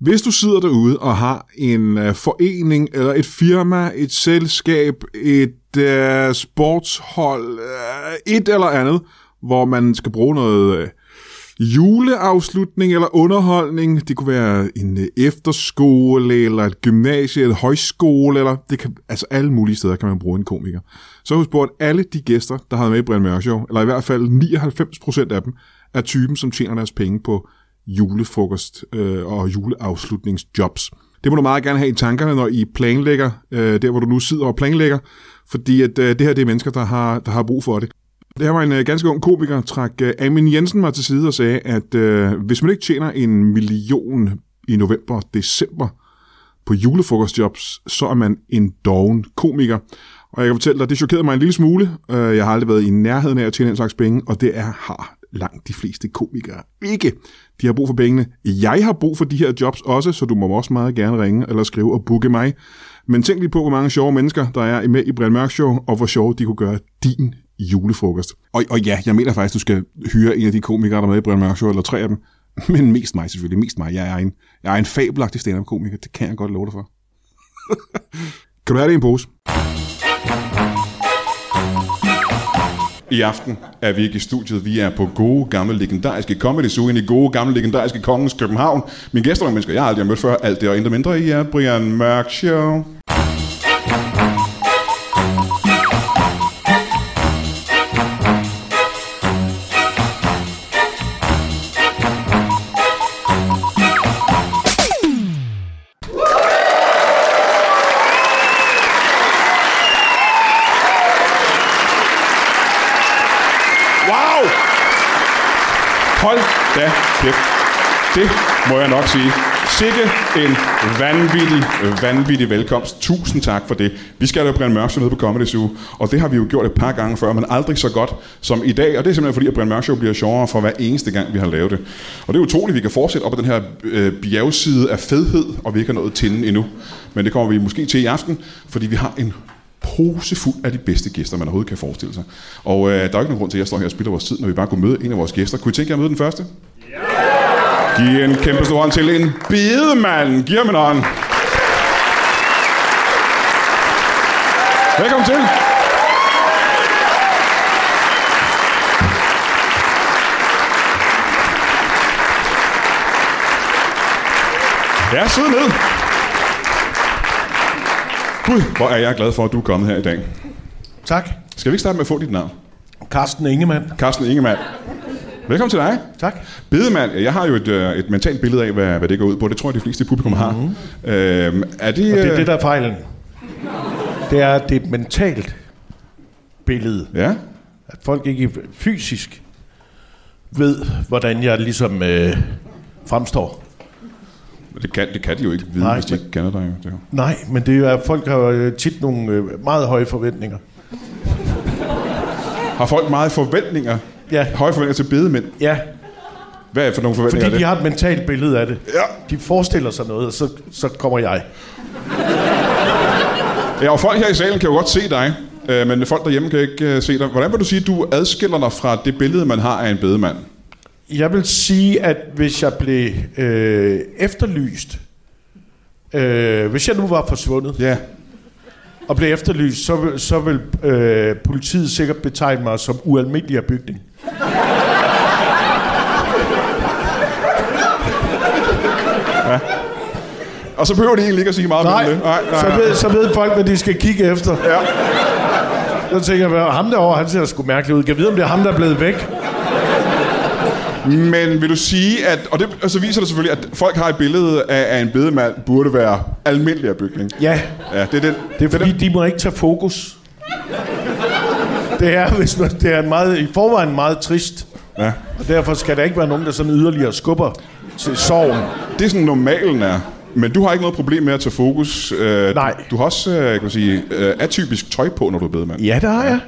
Hvis du sidder derude og har en øh, forening, eller et firma, et selskab, et øh, sportshold, øh, et eller andet, hvor man skal bruge noget øh, juleafslutning eller underholdning. Det kunne være en øh, efterskole, eller et gymnasie, eller højskole, eller det kan, altså alle mulige steder kan man bruge en komiker. Så har vi spurgt alle de gæster, der har været med i Brian Mørk Show, eller i hvert fald 99% af dem, er typen, som tjener deres penge på julefrokost øh, og juleafslutningsjobs. Det må du meget gerne have i tankerne, når I planlægger, øh, der hvor du nu sidder og planlægger, fordi at, øh, det her det er mennesker, der har, der har brug for det. Det her var en øh, ganske ung komiker, trak øh, Amin Jensen mig til side og sagde, at øh, hvis man ikke tjener en million i november og december på julefrokostjobs, så er man en doven komiker. Og jeg kan fortælle dig, det chokerede mig en lille smule. Øh, Jeg har aldrig været i nærheden af at tjene den slags penge, og det er har langt de fleste komikere ikke. De har brug for pengene. Jeg har brug for de her jobs også, så du må også meget gerne ringe eller skrive og booke mig. Men tænk lige på, hvor mange sjove mennesker, der er med i Brian Mørk Show, og hvor sjove de kunne gøre din julefrokost. Og, og ja, jeg mener faktisk, du skal hyre en af de komikere, der er med i Brian Mørk Show, eller tre af dem. Men mest mig selvfølgelig, mest mig. Jeg er en, jeg er en fabelagtig stand-up-komiker, det kan jeg godt love dig for. kan du have det i en pose? I aften er vi ikke i studiet. Vi er på gode, gamle, legendariske Comedy Zoo, inde i gode, gamle, legendariske Kongens København. Mine gæster er mennesker, jeg aldrig har mødt før. Alt det og intet mindre i er Brian Mørk Show. Wow! Hold da kæft. Det må jeg nok sige. Sikke en vanvittig, vanvittig velkomst. Tusind tak for det. Vi skal have Brian Mørk Show nede på Comedy Zoo, og det har vi jo gjort et par gange før, men aldrig så godt som i dag. Og det er simpelthen fordi, at Brian Mørk Show bliver sjovere for hver eneste gang, vi har lavet det. Og det er utroligt, at vi kan fortsætte op ad den her øh, bjergside af fedhed, og vi ikke har nået tinden endnu. Men det kommer vi måske til i aften, fordi vi har en posefuld af de bedste gæster, man overhovedet kan forestille sig. Og øh, der er ikke nogen grund til, at jeg står her og spilder vores tid, når vi bare kunne møde en af vores gæster. Kunne I tænke jer at møde den første? Ja! Giv en kæmpe stor hånd til en bedemand. Giv ham en hånd. Velkommen til. Ja, sid ned. Gud, hvor er jeg glad for, at du er kommet her i dag. Tak. Skal vi ikke starte med at få dit navn? Carsten Ingemann. Carsten Ingemann. Velkommen til dig. Tak. Bedemand, jeg har jo et, øh, et mentalt billede af, hvad, hvad det går ud på. Det tror jeg, de fleste i publikum har. Mm-hmm. Øhm, er det, Det er det, der er fejlen. Det er det er et mentalt billede. Ja, At folk ikke fysisk ved, hvordan jeg ligesom øh, fremstår. Men det kan, det kan de jo ikke vide, Nej, Nej, hvis de men- ikke kender dig. jo. Det er jo- Nej, men det er, folk har øh, tit nogle øh, meget høje forventninger. Har folk meget forventninger? Ja. Høje forventninger til bedemænd? Ja, Hvad er det for nogle forventninger? fordi de er har et mentalt billede af det. Ja. De forestiller sig noget, og så, så kommer jeg. det? Ja, og folk her i salen kan jo godt se dig, øh, men folk derhjemme kan ikke øh, se dig. Hvordan vil du sige, at du adskiller dig fra det billede, man har af en bedemand? Jeg vil sige, at hvis jeg blev øh, efterlyst, øh, hvis jeg nu var forsvundet, Ja. og blev efterlyst, så vil, så vil øh, politiet sikkert betegne mig som ualmindelig af bygning. Og så behøver de egentlig ikke at sige meget mere om det. så, ved, så ved folk, hvad de skal kigge efter. Ja. Så tænker jeg, "Hvad, ham derovre, han ser sgu mærkelig ud. Kan jeg vide, om det er ham, der er blevet væk? Men vil du sige, at... Og, det, og så viser det selvfølgelig, at folk har et billede af, at en bedemand burde være almindelig af bygning. Ja, Ja, det er den. det er fordi, de må ikke tage fokus. Det er, hvis man, det er en meget, i forvejen meget trist. Ja. Og derfor skal der ikke være nogen, der sådan yderligere skubber til sorgen. Det er sådan normalen er. Men du har ikke noget problem med at tage fokus. Øh, Nej. Du har også, øh, kan man sige, øh, atypisk tøj på, når du er bedemand. Ja, der er jeg.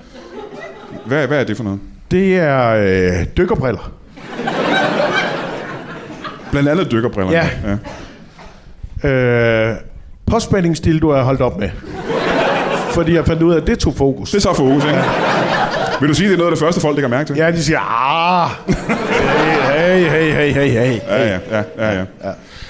Hvad, hvad er det for noget? Det er øh, dykkerbriller. Blandt andet dykkerbriller. Ja. ja. Øh, påspændingsdildo er jeg holdt op med. Fordi jeg fandt ud af, at det tog fokus. Det er så fokus, ikke? Vil du sige, at det er noget af det første, folk lægger mærke til? Ja, de siger, ah, hey, hey, hey, hey, hey, hey. Ja, ja, ja, ja, ja.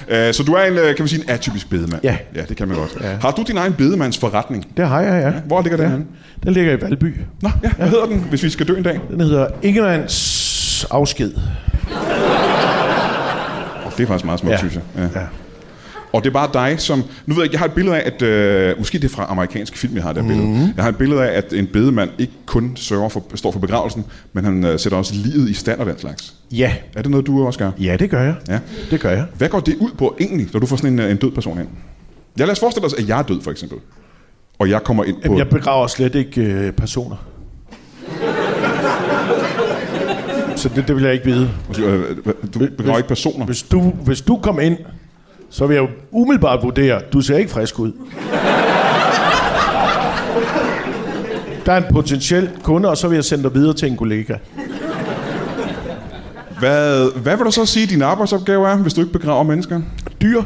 ja. Øh, så du er en, øh, kan man sige, en atypisk bedemand. Ja. ja det kan man godt. Ja. Har du din egen bedemandsforretning? Det har jeg, ja. Hvor ligger det henne? Den ligger i Valby. Nå, ja, hvad hedder den, hvis vi skal dø en dag? Den hedder Ingemands afsked. Oh, det er faktisk meget smukt, ja. Ja. synes jeg. Ja. Ja. Og det er bare dig, som... Nu ved jeg, ikke, jeg har et billede af, at... Øh, måske det er fra amerikanske film, jeg har det her billede. Mhm. Jeg har et billede af, at en bedemand ikke kun sørger for, står for begravelsen, men han øh, sætter også livet i stand og den slags. Ja. Er det noget, du også gør? Ja, det gør jeg. Ja. Det gør jeg. Hvad går det ud på egentlig, når du får sådan en, øh, en død person ind? Ja, lad os forestille os, at jeg er død, for eksempel. Og jeg kommer ind på... Jamen, jeg begraver slet ikke øh, personer. Så det, det vil jeg ikke vide. Undskyld, øh, øh, Du begraver ikke personer. Hvis du, hvis du kom ind, så vil jeg jo umiddelbart vurdere, du ser ikke frisk ud. Der er en potentiel kunde, og så vil jeg sende dig videre til en kollega. Hvad, hvad vil du så sige, din arbejdsopgave er, hvis du ikke begraver mennesker? Dyr?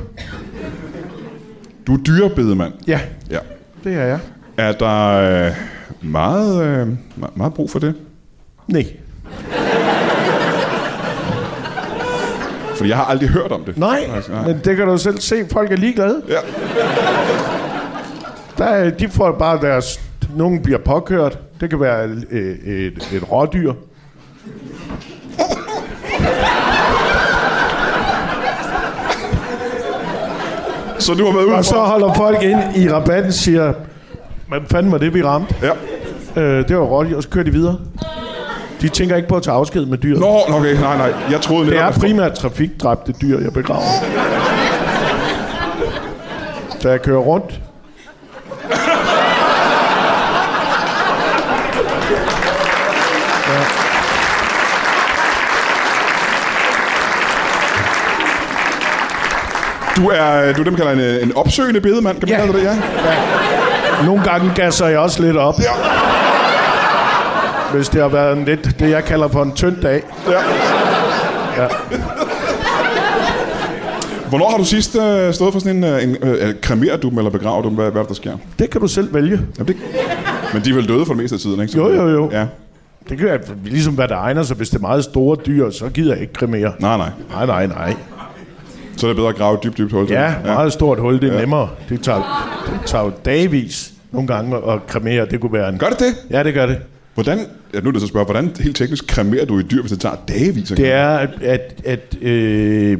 Du er dyrebedemand. Ja, Ja. det er jeg. Er der øh, meget, øh, me- meget brug for det? Nej. Fordi jeg har aldrig hørt om det. Nej, Altså, men det kan du selv se. Folk er ligeglade. Ja. Der er, de får bare deres... Nogen bliver påkørt. Det kan være øh, et, et rådyr. Så du har været ude Og så for... holder folk ind i rabatten og siger, hvad fanden var det, vi ramte? Ja. Øh, det var rådyr, og så kører de videre. De tænker ikke på at tage afsked med dyret. Nå, okay, nej, nej. Jeg troede det netop, er at- primært trafikdræbte dyr, jeg begraver. Så jeg kører rundt. Du er, du er det, man kalder en, øh, en opsøgende bedemand, kan man Ja. kalde det, ja? Nogle gange gasser jeg også lidt op. Ja. Hvis det har været en lidt, det jeg kalder for en tynd dag. ja. Hvornår har du sidst øh, stået for sådan en... Øh, en øh, øh, kremerer du dem, eller begraver du dem? Hvad, hvad er det, der sker? Det kan du selv vælge. Jamen, det... Men de er vel døde for det meste af tiden, ikke? Så- Jo, jo, jo. Ja. Det kan være ligesom, hvad der egner sig. Hvis det er meget store dyr, så gider jeg ikke kremere. Nej, nej. Nej, nej, nej. Så er det bedre at grave et dybt, dybt hul. til. Ja, meget stort hul, det er nemmere. Det tager, det tager jo dagevis nogle gange at kremere. Det kunne være en... Gør det det? Ja, det gør det. Hvordan, ja, nu er det så at spørge, hvordan helt teknisk kremerer du et dyr, hvis det tager dagevis? at Det kremere? er, at, at, at øh,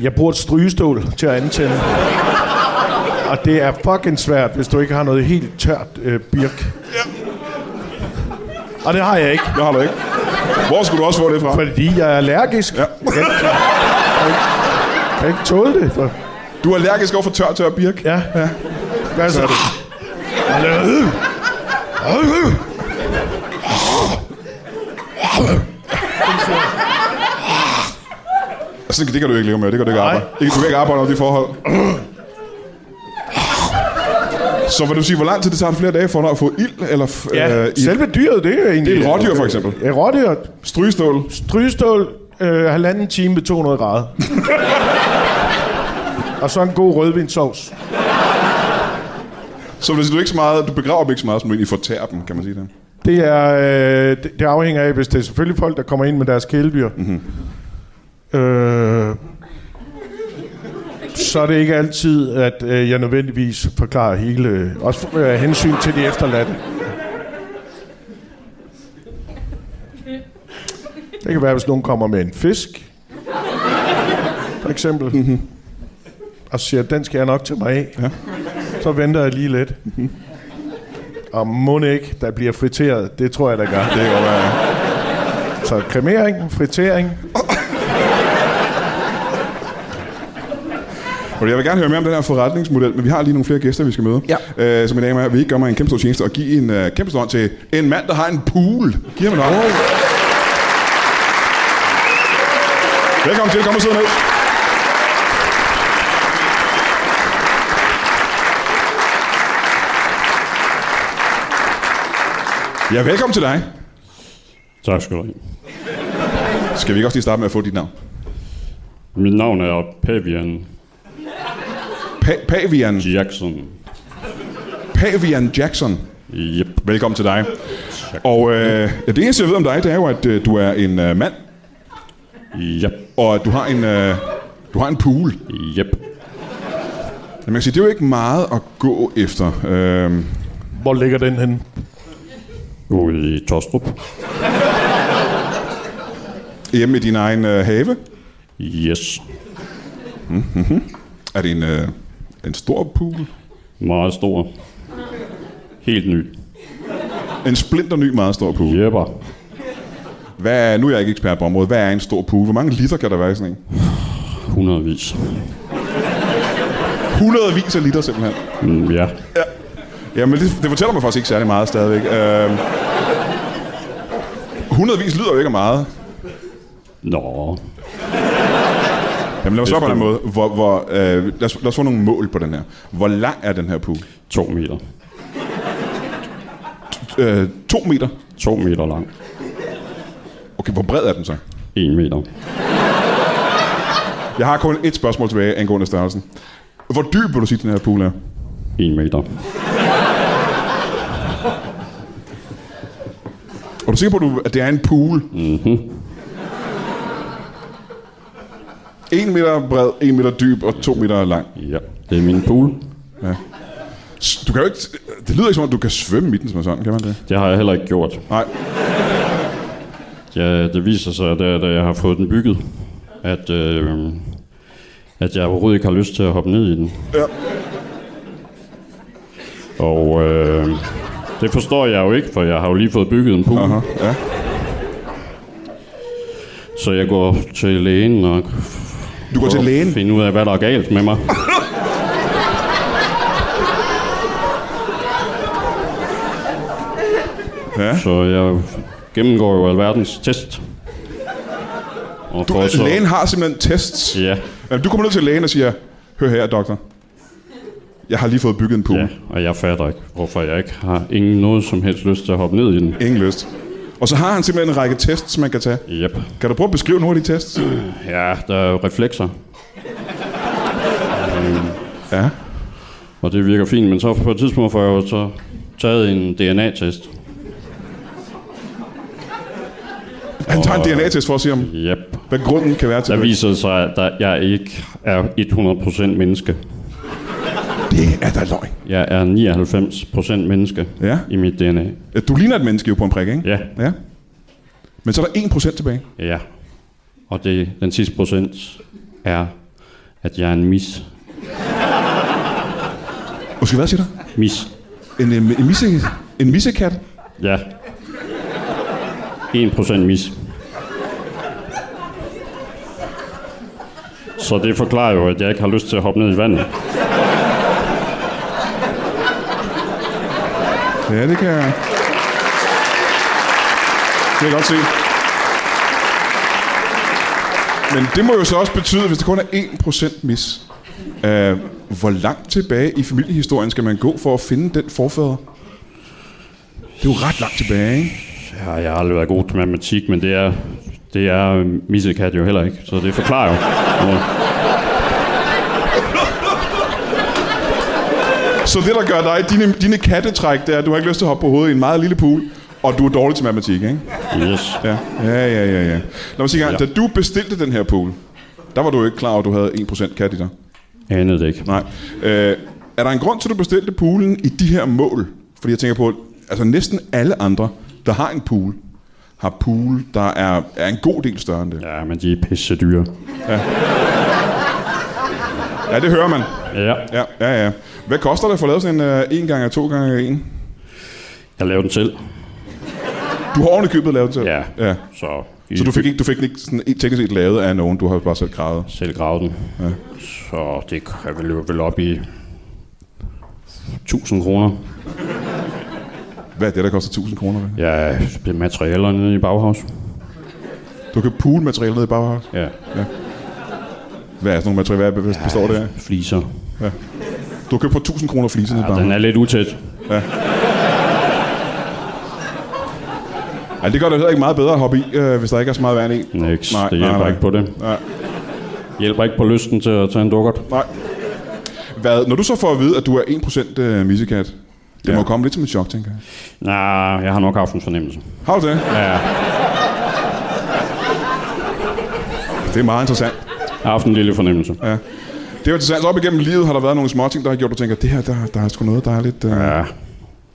jeg bruger et strygestål til at antænde. Og det er fucking svært, hvis du ikke har noget helt tørt øh, birk. Og det har jeg ikke, Det har du ikke. Hvor skulle du også få det fra? fordi jeg er allergisk. Ja. Jeg kan ikke- jeg kan ikke tåle det. For, Du er allergisk over for tør, tør birk. ja. ja. Hvad så? Og det- øh. Altså, det kan du ikke leve med. Det kan du ikke Nej. arbejde. Ikke, du kan ikke arbejde under de forhold. Så vil du sige, hvor lang tid det tager det flere dage for dig at få ild? Eller f- Ja, øh, øh, selve dyret, det er egentlig... Det er et rådyr, for eksempel. Ja, rådyr. Strygestål. Strygestål, øh, halvanden time ved 200 grader. og så en god rødvinsovs. Så vil du sige, du, er ikke så meget, du begraver dem ikke så meget, som du egentlig fortærer dem, kan man sige det. Det, er, øh, det, det afhænger af, hvis det er selvfølgelig folk, der kommer ind med deres kæledyr. Mm-hmm. Øh, så er det ikke altid, at øh, jeg nødvendigvis forklarer hele... Øh, også øh, hensyn til de efterladte. Det kan være, hvis nogen kommer med en fisk, for eksempel, mm-hmm. og siger, den skal jeg nok til mig af. Ja. Så venter jeg lige lidt. Og må det ikke, der bliver friteret. Det tror jeg, der gør. Det kan godt være. Så kremering, fritering. Og jeg vil gerne høre mere om den her forretningsmodel, men vi har lige nogle flere gæster, vi skal møde. Ja. Øh, så mine damer og herrer, vil I ikke gøre mig en kæmpe stor tjeneste og give en øh, kæmpe stor hånd til en mand, der har en pool. Giv ham en hånd. Velkommen til. Kom og sidde ned. Ja, velkommen til dig. Tak skal du have. Skal vi ikke også lige starte med at få dit navn? Mit navn er Pavian Pa- Pavian. Jackson. Pavian Jackson. Yep. Velkommen til dig. Og øh, ja, det eneste, jeg ved om dig, det er jo, at øh, du er en øh, mand, Yep. og at du har en, øh, Du har en pool. Jep. Jamen, man kan sige, det er jo ikke meget at gå efter. Øhm, Hvor ligger den henne? Ude i Tostrup. hjemme i din egen øh, have. Yes. Er det en, øh, en stor pool? Meget stor. Helt ny. En splinter ny, meget stor pool. Jepper. Hvad er, nu er jeg ikke ekspert på området. Hvad er en stor pool? Hvor mange liter kan der være i sådan en? Hundredvis. Hundredvis af liter simpelthen. Mm, ja. Jamen, det, det fortæller mig faktisk ikke særlig meget stadigvæk. Øhm, hundredvis lyder jo ikke af meget. Nå. Jamen, lad os svare på den måde. Hvor, hvor, øh, lad, os, lad os få nogle mål på den her. Hvor lang er den her pool? To meter. Øh, to meter. To meter lang. Okay, hvor bred er den så? En meter. Jeg har kun et spørgsmål tilbage angående størrelsen. Hvor dyb vil du sige, den her pool er? En meter. Er du sikker på, at du- at det er en pool? Mm-hmm. En meter bred, en meter dyb og to meter lang. Ja. Det er min pool. S- Du kan jo ikke... Det lyder ikke som om, du kan svømme i den som sådan, kan man det? Det har jeg heller ikke gjort. Nej. Ja, det viser sig, da, da jeg har fået den bygget, at, øh, at jeg overhovedet ikke har lyst til at hoppe ned i den. Ja. Og øh, det forstår jeg jo ikke, for jeg har jo lige fået bygget en pool. Aha, ja. Så jeg går til lægen og Du går til lægen. finde ud af, hvad der er galt med mig. Ja. Så jeg gennemgår jo alverdens test. Og Du, får så- lægen har simpelthen tests. Ja, Jamen, Du kommer ned til lægen og siger, hør her, doktor. Jeg har lige fået bygget en pool. ja, og jeg fatter ikke, hvorfor jeg ikke har ingen noget som helst lyst til at hoppe ned i den. Ingen lyst. Og så har han simpelthen en række tests, man kan tage. Yep. Kan du prøve at beskrive nogle af de tests? Ja, der er jo reflekser, Ja. og det virker fint, men så på et tidspunkt får jeg jo så taget en DNA-test. Han tager en DNA-test for at se, om, Yep. hvad grunden kan være til Der det. viser det sig, at der, jeg ikke er 100% menneske. Det er da løgn. Jeg er 99% menneske Ja. i mit DNA. Ja, Du ligner et menneske jo på en prik, ikke? Ja, ja. Men så er der 1% tilbage. ja. Og det, den sidste procent er, at jeg er en mis. Måske hvad siger du? Mis. En, en, en, misse, en missekat? Ja. 1% mis. Så det forklarer jo, at jeg ikke har lyst til at hoppe ned i vandet. Ja, det kan jeg. Det kan jeg godt se. Men det må jo så også betyde, hvis det kun er 1% mis, øh, hvor langt tilbage i familiehistorien skal man gå for at finde den forfader? Det er jo ret langt tilbage, ikke? Ja, jeg har aldrig været god til matematik, men det er, det er øh, missekat jo heller ikke, så det forklarer jo. noget. Så det, der gør dig, dine, dine kattetræk, det er, at du har ikke lyst til at hoppe på hovedet i en meget lille pool, og du er dårlig til matematik, ikke? Yes. Ja, ja, ja, ja. ja. Lad mig sige en gang, ja. da du bestilte den her pool, der var du jo ikke klar over, at du havde 1% kat i dig. Anede det ikke. Nej. Øh, er der en grund til, at du bestilte poolen i de her mål? Fordi jeg tænker på, at altså næsten alle andre, der har en pool, har pool, der er, er en god del større end det. Ja, men de er pisse dyre. Ja, ja det hører man. Ja. Ja, ja, ja. Hvad koster det at få lavet sådan en øh, 1 gange 2 gange 1 Jeg lavede den selv. Du har ordentligt købet lavet til. Ja. ja. Så, Så du fik ikke, du fik den ikke sådan helt teknisk set lavet af nogen, du har bare selv gravet. selv gravet den. Ja. Så det kan vel løbe vel op i 1000 kroner. Hvad er det, der koster 1000 kroner? hvad? Ja, det er materialer nede i Bauhaus. Du kan pool materiale ned i Bauhaus. Ja. Hvad er sådan nogle materialer? Hvad består det af? Fliser. Du har købt for 1000 kroner fliser ned i Ja, den Bauhaus. er lidt utæt. Ja, det gør det jo heller ikke meget bedre at hoppe i, øh, hvis der ikke er så meget vand i. Nix. Nej, Nej, det nej, hjælper nej. ikke på det. Nej. Hjælper ikke på lysten til at tage en dukkert. Nej. Hvad, når du så får at vide, at du er 1% øh, missekat, det ja. Ja. må komme lidt som et chok, tænker jeg. Nej, jeg har nok haft en fornemmelse. Har du det? Ja. Det er meget interessant. Jeg har haft en lille fornemmelse. Ja. Det er jo interessant. Så op igennem livet har der været nogle små ting, der har gjort, at du tænker, det her, der, der er sgu noget dejligt. Øh. Ja, Hvad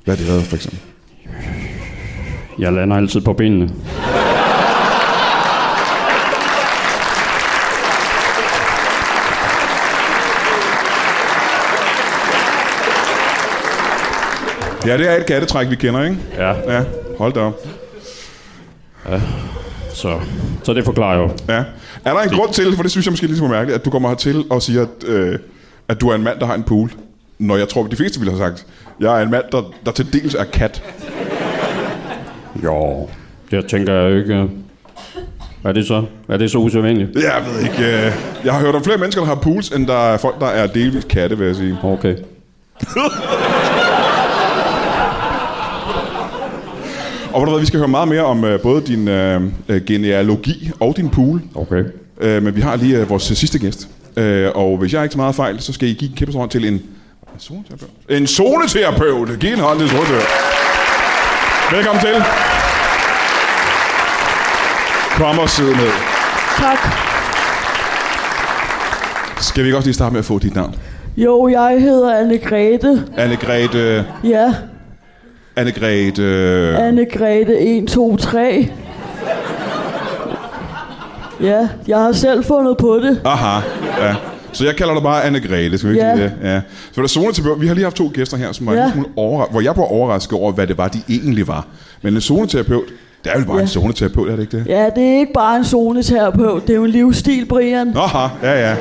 har det været, for eksempel? jeg lander altid på benene. Ja, det er et kattetræk, vi kender, ikke? Ja, Ja, hold da op. så, så det forklarer jeg jo. Ja. Er der en grund til, for det synes jeg måske ligesom er mærkeligt, at du kommer hertil og siger, at, øh, at du er en mand, der har en pool? Når jeg tror, de fleste ville have sagt, jeg er en mand, der, der til dels er kat. Jo, det tænker jeg jo ikke. øh. Er det så? Er det så usædvanligt? Jeg ved ikke. Øh, jeg har hørt om flere mennesker, der har pools, end der er folk, der er delvis katte, vil jeg sige. Okay. Og ved du hvad, vi skal høre meget mere om øh, både din øh, øh, genealogi og din pool. Okay. Øh, men vi har lige øh, vores øh, sidste gæst. Øh, og hvis jeg ikke så meget fejl, så skal I give en kæmpe stor hånd til en... en zoneterapeut. En zoneterapeut! Giv en hånd til en zoneterapeut. Velkommen til. Kom og sid ned. Tak. Skal vi ikke også lige starte med at få dit navn? Jo, jeg hedder Anne-Grethe. Anne-Grethe... Ja, Anne-Grethe... Anne-Grethe 1, 2, 3. Ja, jeg har selv fundet på det. Aha, ja. Så jeg kalder dig bare Anne-Grethe, skal vi ikke Ja. sige det? Ja. Så var der zoneterapeut. Vi har lige haft to gæster her, som var ja. Ja. en lille smule overra- hvor jeg var overrasket over, hvad det var, de egentlig var. Men en zoneterapeut, det er jo bare ja. en zoneterapeut, er det ikke det? Ja, det er ikke bare en zoneterapeut, det er jo en livsstil, Brian. Aha, ja, ja.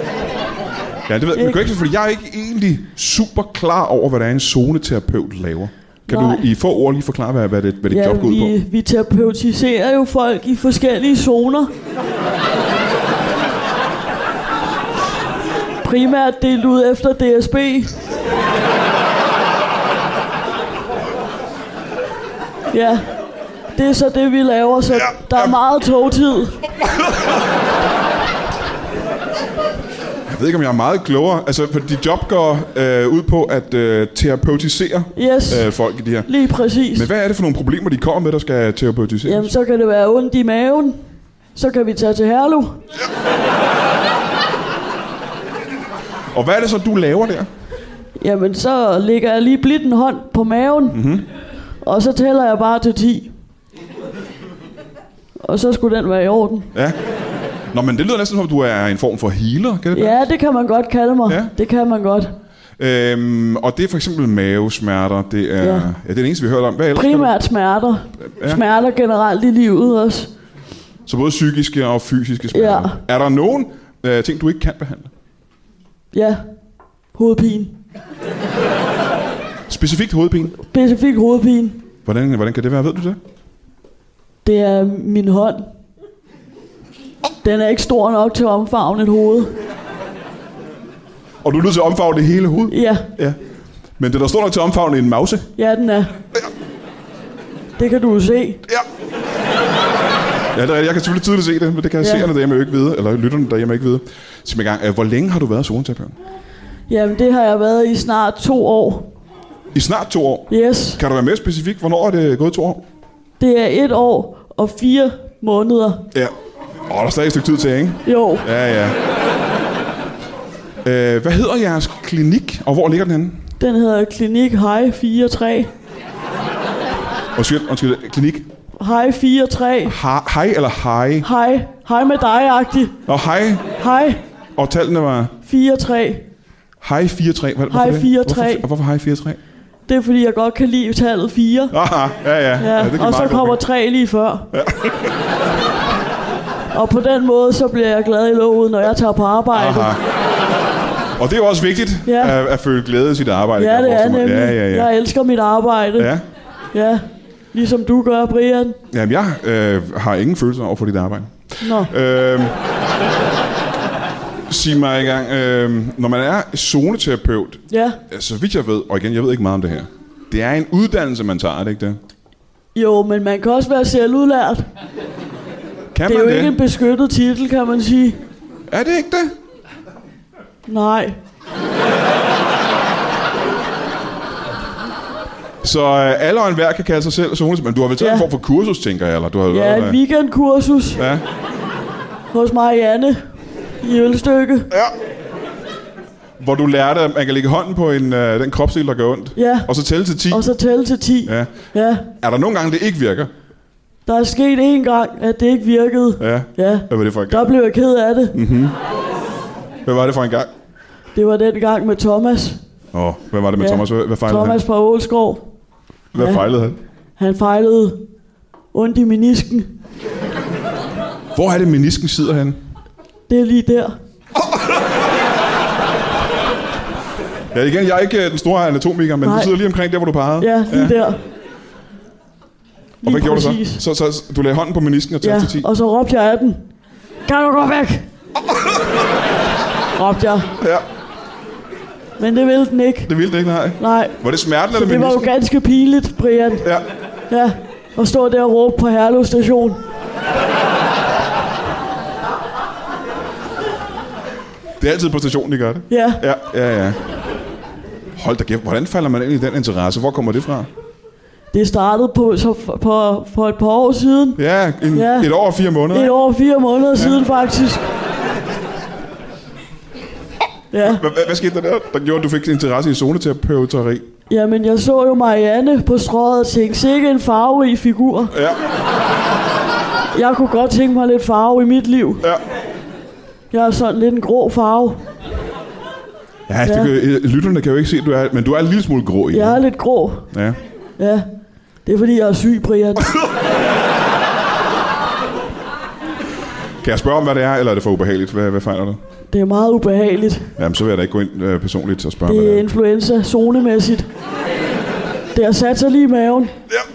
Ja, det ved jeg. Men Ikke? kan ikke, fordi jeg er ikke egentlig super klar over, hvad der er en zoneterapeut laver. Kan Nej. du i få ord lige forklare, hvad, hvad det, hvad det ja, Ja, job går ud på? vi, vi terapeutiserer jo folk i forskellige zoner. Primært delt ud efter DSB. Ja, det er så det, vi laver, så der er meget togtid. Jeg ved ikke, om jeg er meget klogere. Altså, for dit job går øh, ud på at øh, terapeutisere Yes, øh, folk i det her. lige præcis. Men hvad er det for nogle problemer, de kommer med, der skal terapeutiseres? Jamen, så kan det være ondt i maven. Så kan vi tage til Herlev. Og hvad er det så, du laver der? Jamen, så lægger jeg lige blidt en hånd på maven, mm-hmm. Mhm. og så tæller jeg bare til 10. Og så skulle den være i orden. Ja. Nå, men det lyder næsten som, om du er en form for healer, kan det være? Ja, det kan man godt kalde mig. Ja. Det kan man godt. Øhm, og det er for eksempel mavesmerter. Det er, ja. Ja. Ja, det er det eneste, vi har hørt om. Hvad ellers? kan du- Primært smerter. Ja. Smerter generelt i livet også. Så både psykiske og fysiske smerter. Ja. Er der nogen øh, ting, du ikke kan behandle? Ja, hovedpine. Specifikt hovedpine. Specifik hovedpine. Hvordan, hvordan kan det være? Ved du det? Det er min hånd. Den er ikke stor nok til at omfavne et hoved. Og du er nødt til at omfavne det hele hoved. Ja, Ja. Men det er der står nok til at omfavne en mause. ja den er. Det kan du jo se. Ja. Ja, det er, rigtigt. jeg kan selvfølgelig tydeligt se det, men det kan Ja. ja. seerne derhjemme jo ikke vide, eller lytterne derhjemme ikke vide. Sig mig i gang, øh, hvor længe har du været zoneterapeut? Jamen, det har jeg været i snart to år. I snart to år. Yes. Kan du være mere specifik? Hvornår er det gået to år? Det er et år og fire måneder. Ja. Åh, der er stadig et stykke tid til, ikke? Jo, Ja, ja. Øh, hvad hedder jeres klinik, og hvor ligger den henne? den hedder Klinik Hej 43. Undskyld, undskyld. Klinik. Hej 43. Ha- hej eller hej? Hej. Hej med dig-agtig. Nå, hej. Hej Og tallene var 43. hej 4-3. Hvad, hvorfor Hej, det? 4-3. Hvorfor, og hvorfor hej 4-3? Det er fordi, jeg godt kan lide tallet 4. Aha, ja, ja. Ja, det kan og så meget kommer godt 3 lige før. og på den måde, så bliver jeg glad i låget, når jeg tager på være. arbejde. Aha. Og det er jo også vigtigt Ja. at, at føle glæde i sit arbejde. Ja, kan jeg det er forestille mig. nemlig. Ja, ja, ja. Jeg elsker mit arbejde. ja. ja. Ligesom du gør, Brian. Jamen, jeg øh, har ingen følelser over for dit arbejde. Nå. Øhm, sig mig i gang. Øhm, når man er zoneterapeut, Ja. så vidt jeg ved, og igen, jeg ved ikke meget om det her. Det er en uddannelse, man tager, er det ikke det? Jo, men man kan også være selvudlært. Kan Det er man jo det? ikke en beskyttet titel, kan man sige. Er det ikke det? Nej. Så øh, alle og enhver kan kalde sig selv zoneterapeut. Men du har vel taget Ja. en form for kursus, tænker jeg, eller du har Ja, været et weekendkursus Ja. hos Marianne. i ølstykke. Hvor du lærte, at man kan lægge hånden på en, øh, den kropsdel, der gør ondt. Ja. Og så tælle til 10. Og så tælle til 10. Ja. ja. Er der nogle gange, det ikke virker? Der er sket én gang, at det ikke virkede. Ja. Ja. Hvad var det for en Der gang? blev jeg ked af det. Mm. Hvad var det for en gang? Det var den gang med Thomas. Åh, oh, hvad var det med Ja. Thomas? Hvad, hvad fejlede Thomas fra Ålskov. han? Hvad Ja. fejlede han? Han fejlede ondt i menisken. Hvor er det, menisken sidder han? Det er lige der. Ja, igen, jeg er ikke øh, den store anatomiker, men Nej. du Nej. sidder lige omkring der, hvor du pegede. Ja, lige ja. der. Lige Og hvad gjorde du så? præcis. så? Så, så du lagde hånden på menisken og Ja, talte ja, til 10. og så råbte jeg af den. Kan du gå væk? råbte jeg. Ja, Men det ville den ikke. det ville det ikke, nej. Nej. Var det smerten eller Det var jo menisken? ganske pinligt, Brian. Ja. Ja. At stå der og råbe på Herlev station. Det er altid på stationen, de gør det. Ja. Ja, ja, ja. Hold da kæft, hvordan falder man ind i den interesse? Hvor kommer det fra? Det startede på, så for, for, for et par år siden. Ja, en, ja. Ja. et år og fire måneder. Et ikke? år og fire måneder ja. siden, faktisk. Ja. Hvad, hvad, hvad skete der der, der gjorde, at du fik interesse i zoneterapeuteri? Jamen, jeg så jo Marianne på strøget og tænkte, sikke en farverig figur. Ja, Jeg kunne godt tænke mig lidt farve i mit liv. ja. Jeg er sådan lidt en grå farve. Ja, ja. Ja. Du, kan- øh, lytterne kan jo ikke se, at du er, men du er en lille smule grå i. Jeg er lidt grå. ja. Ja. Det er fordi, jeg er syg, Brian. Kan jeg spørge om, hvad det er, eller er det for ubehageligt? Hvad, hvad fejler du? Det er meget ubehageligt. Jamen, så vil jeg da ikke gå ind øh, personligt og spørge, Det er hvad det influenza, zonemæssigt. Det har sat sig lige i maven. er.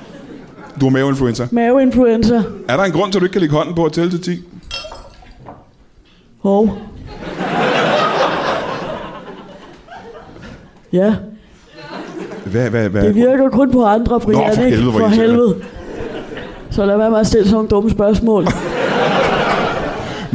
Du har maveinfluenza. Maveinfluenza. Er der en grund til, at du ikke kan lægge hånden på og tælle til 10? Hov. Ja, Hvad, hvad, hvad? det virker kun på andre, Brian, for ikke? helvede, hvor For irriterende. helvede. Så lad være med at stille sådan nogle dumme spørgsmål.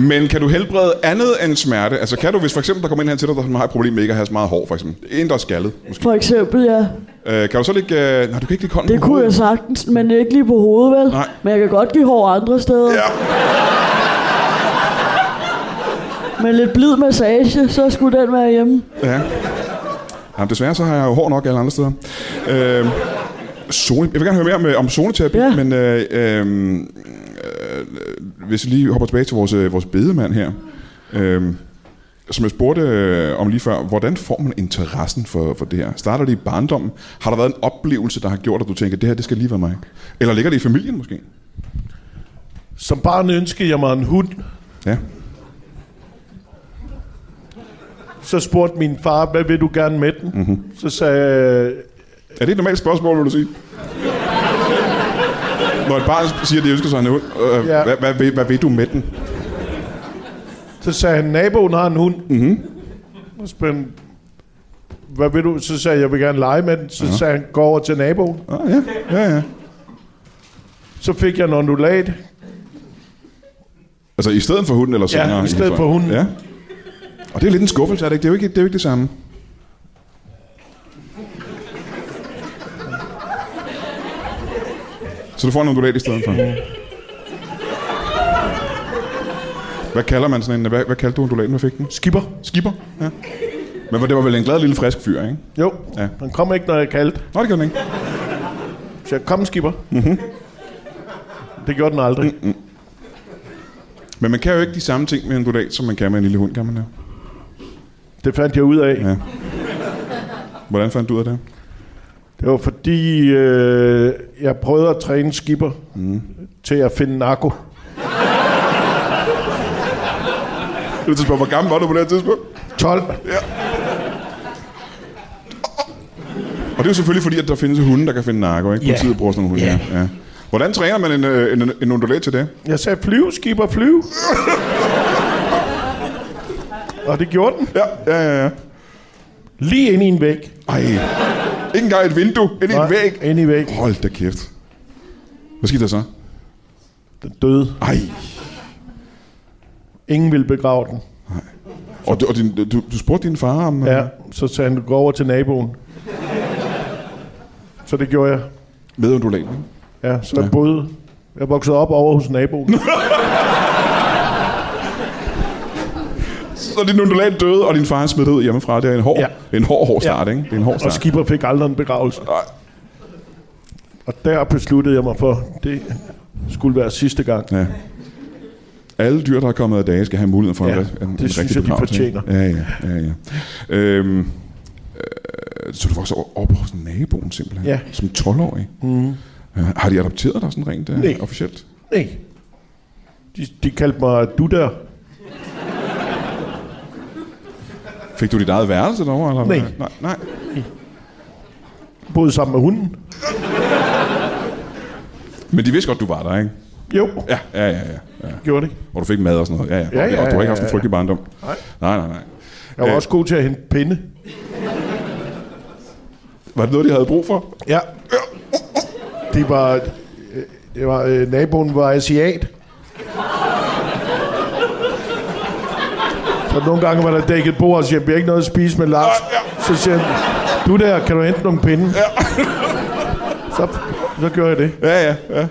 Men kan du helbrede andet end smerte? Altså kan du, hvis for eksempel der kommer ind her til dig, der har et problem med ikke at have så meget hår, for eksempel. En, der er skaldet, måske. For eksempel, ja. Øh, kan du så lægge... Øh... Nej, du kan ikke lægge hånden Det på kunne jeg hovedet. sagtens, men ikke lige på hovedet, vel? Nej. Men jeg kan godt give hår andre steder. Ja. Men lidt blid massage, så skulle den være hjemme. Ja. Jamen, desværre så har jeg jo hår nok alle andre steder. Øh, zone, jeg vil gerne høre mere om, øh, om zoneterapi, ja. Ja. men øh, øh, øh, hvis vi lige hopper tilbage til vores, øh, vores bedemand her. Øh, som jeg spurgte øh, om lige før, hvordan får man interessen for, for det her? Starter det i barndommen? Har der været en oplevelse, der har gjort, at du tænker, det her det skal lige være mig? Eller ligger det i familien måske? Som barn ønskede jeg mig en hund. Ja. Så spurgte min far, hvad vil du gerne med den? Mm-hmm. Så sagde jeg, Er det et normalt spørgsmål, vil du sige? Når et barn siger, at det ønsker sig en hund, øh, ja. Ja. hvad, hvad, hvad, hvad ved du med den? Så sagde han, naboen har en hund. Mm-hmm. Og så spurgte han, hvad vil du? Så sagde jeg, jeg vil gerne lege med den. Så uh-huh. sagde han, gå over til naboen. Ah, ja, ja, ja. Så fik jeg en ondulat. Altså i stedet for hunden eller senere? i stedet historien? for hunden. Ja. Og det er lidt en skuffelse, er det ikke? Det er jo ikke det, er jo ikke det samme. Så du får en undulat i stedet for? Hvad kalder man sådan en? Hvad, hvad kaldte du undulaten? Hvad fik den? Skipper. Skipper? Ja. Men det var vel en glad lille frisk fyr, ikke? Jo, Ja. ja. han kom ikke, når jeg kaldte. Nå, det gjorde den ikke. Så jeg, kom skipper. Mm-hmm. Det gjorde den aldrig. Mm-hmm. Men man kan jo ikke de samme ting med en undulat, som man kan med en lille hund, kan man det? Det fandt jeg ud af. Ja. Hvordan fandt du ud af det? Det var fordi, øh, jeg prøvede at træne skipper mm. til at finde narko. Jeg vil spørge, hvor gammel var du på det her tidspunkt? 12. Og det er jo selvfølgelig fordi, at der findes hunde, der kan finde narko, ikke? Ja. Politiet bruger sådan nogle hunde. Ja. Ja. Hvordan træner man en, øh, en, en undulat til det? Jeg sagde, flyv, skipper, flyv. Og det gjorde den. Ja, ja, ja. ja. Lige ind i en væg. Ej. Ikke engang et vindue, ind i en væg. Ind i væg. Hold da kæft. Hvad skete der så? Den døde. Ej. Ingen ville begrave den. Og, du, og din, du, du spurgte din far om... øh, Ja, så sagde han, du går over til naboen. Så det gjorde jeg. Med undulaten. ikke? Ja, så jeg boede. Jeg voksede op over hos naboen. når din undulat døde, og din far smed det ud hjemmefra. Det er en hård, Ja. ja. en hård, hård start, ja. ikke? Det er en hård Og start. skipper fik aldrig en begravelse. Nej. Og der besluttede jeg mig for, det skulle være sidste gang. Ja. Alle dyr, der er kommet af dage, skal have muligheden for Ja, en, en, det en synes rigtig jeg, de begravelse, ikke? fortjener. Ja, ja, ja. ja. Øhm, øh, så du voksede op hos naboen simpelthen? Ja. Mhm. Som 12-årig? Mm. Ja, har de adopteret dig sådan rent øh, Nej. officielt? Nej. De, de kaldte mig du der. Fik du dit eget værelse derovre? Eller? Nej. nej. Nej, Boede sammen med hunden. Men de vidste godt, du var der, ikke? Jo, Ja, ja, ja. ja, ja. gjorde det. Og du fik mad og sådan noget. Ja, ja. Ja, ja, og du har ja, ikke haft ja, en frygtelig barndom. Nej. Nej, nej, nej. Jeg var Øh. også god til at hente pinde. Var det noget, de havde brug for? Ja. De var... øh, Det var øh, naboen var asiat. Så nogle gange var der dækket bord, og siger, vi har ikke noget at spise med Lars. Så siger han, du der, kan du hente nogle pinde? Så, så gjorde jeg det. Ja, ja, ja.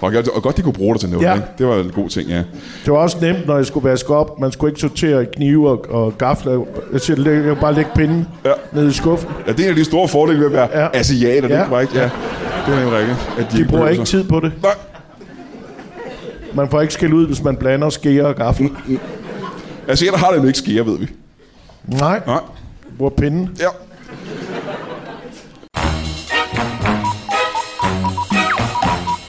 Og godt- Og godt, de kunne bruge dig til noget, Ja. ja. ikke? Det var en god ting, ja. Det var også nemt, når jeg skulle vaske op. Man skulle ikke sortere i knive og, og gafler. Jeg siger, "Læg- jeg kan bare lægge pinden ja. Ja. nede i skuffen. Ja, det er en af de store fordele ved at være Ja. ja. asiater, det Ja. er korrekt, ja. Det er nemlig rigtigt. At de, De bruger behøver ikke sig. tid på det. Nej. Man får ikke skæld ud, hvis man blander skeer og gafler. Asiater har det jo ikke skære, ved vi. Nej, Nej. bruger pinden. Ja.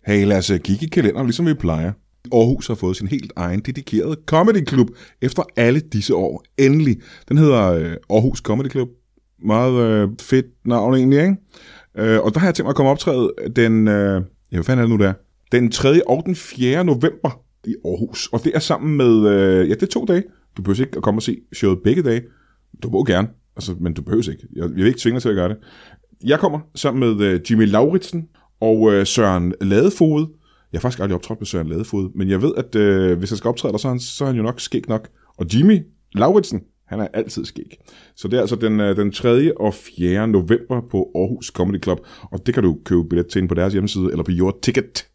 Hey, lad os øh, kigge i kalenderen, ligesom vi plejer. Aarhus har fået sin helt egen dedikerede comedy club efter alle disse år. Endelig. Den hedder øh, Aarhus Comedy Club. Meget øh, fedt navn egentlig, ikke? Øh, og der har jeg tænkt mig at komme og optræde den... Øh, ja, hvad fanden er det nu, der? Den 3. og den 4. november i Aarhus. Og det er sammen med... Øh, ja, det er to dage. Du behøver ikke at komme og se showet begge dage. Du må gerne, altså, men du behøver ikke. Jeg, jeg vil ikke tvinge dig til at gøre det. Jeg kommer sammen med øh, Jimmy Lauritsen og øh, Søren Ladefod. Jeg har faktisk aldrig optrådt med Søren Ladefod, men jeg ved, at øh, hvis han skal optræde der, så er, han, så er han jo nok skæg nok. Og Jimmy Lauritsen, han er altid skæg. Så det er altså den, øh, den 3. og 4. november på Aarhus Comedy Club, og det kan du købe billet til inde på deres hjemmeside eller på Your Ticket.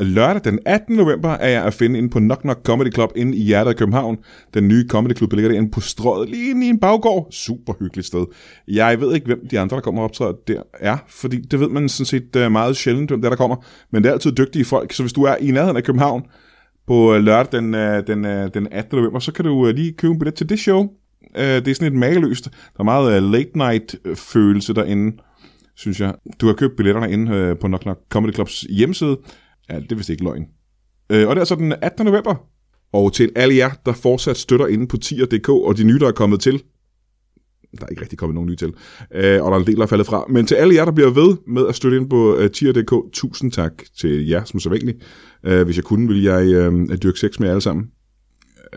Lørdag den 18. november er jeg at finde inde på Knock Knock Comedy Club inde i hjertet af København. Den nye Comedy Club ligger derinde på strøget lige inde i en baggård. Super hyggeligt sted. Jeg ved ikke, hvem de andre, der kommer og optræder der er, fordi det ved man sådan set øh, meget sjældent, hvem der, der kommer. Men det er altid dygtige folk, så hvis du er i nærheden af København på øh, lørdag den, øh, den, øh, den 18. november, så kan du øh, lige købe en billet til det show. Øh, Det er sådan et mageløst. Der er meget øh, late night øh, følelse derinde synes jeg. Du har købt billetterne inde øh, på Knock Knock Comedy Clubs hjemmeside. Ja, det er vist ikke løgn. Øh, og det er så den 18. november. Og til alle jer, der fortsat støtter inde på tier.dk, og de nye, der er kommet til. Der er ikke rigtig kommet nogen nye til. Øh, og der er en del, der er faldet fra. Men til alle jer, der bliver ved med at støtte ind på øh, tier.dk, tusind tak til jer, som så vanligt. Øh, hvis jeg kunne, ville jeg øh, dyrke sex med jer alle sammen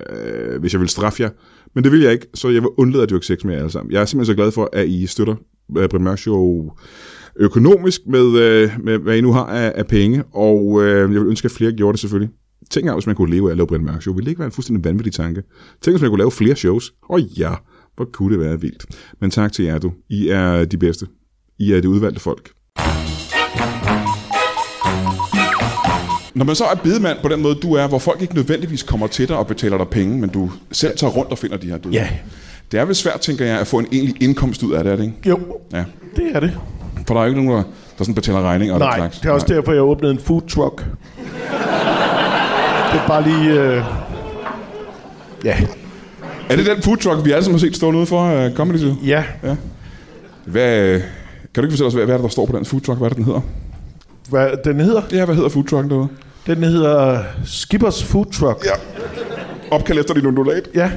øh, hvis jeg ville straffe jer. Men det vil jeg ikke, så jeg vil undlade at dyrke sex med jer alle sammen. Jeg er simpelthen så glad for, at I støtter øh, Brian Mørk Show økonomisk med, øh, med, hvad I nu har af, af penge, og øh, jeg vil ønske, at flere gjorde det selvfølgelig. Tænk engang, hvis man kunne leve af at lave Brian Mørk Show. Ville det ikke være en fuldstændig vanvittig tanke? Tænk, hvis man kunne lave flere shows. Og ja, hvor kunne det være vildt. Men tak til jer, du. I er de bedste. I er det udvalgte folk. Når man så er bedemand på den måde, du er, hvor folk ikke nødvendigvis kommer til dig og betaler dig penge, men du selv tager rundt og finder de her døde. Ja. Det er vel svært, tænker jeg, at få en egentlig indkomst ud af det, er det ikke? Jo, Ja. det er det. For der er jo ikke nogen, der, der sådan betaler regninger. og den Nej, slags. det er også Nej. derfor, jeg åbnede en food truck. det er bare lige... Øh... Ja. Er det den food truck, vi alle sammen har set stående ude for uh, Comedy Zoo? ja. Hvad, øh, kan du ikke fortælle os, hvad, hvad er det, der står på den food truck? Hvad er det, den hedder? Hvad den hedder? Ja, hvad hedder food trucken derude? Den hedder Skippers Food Truck. Ja. Opkald efter din undulat. Ja.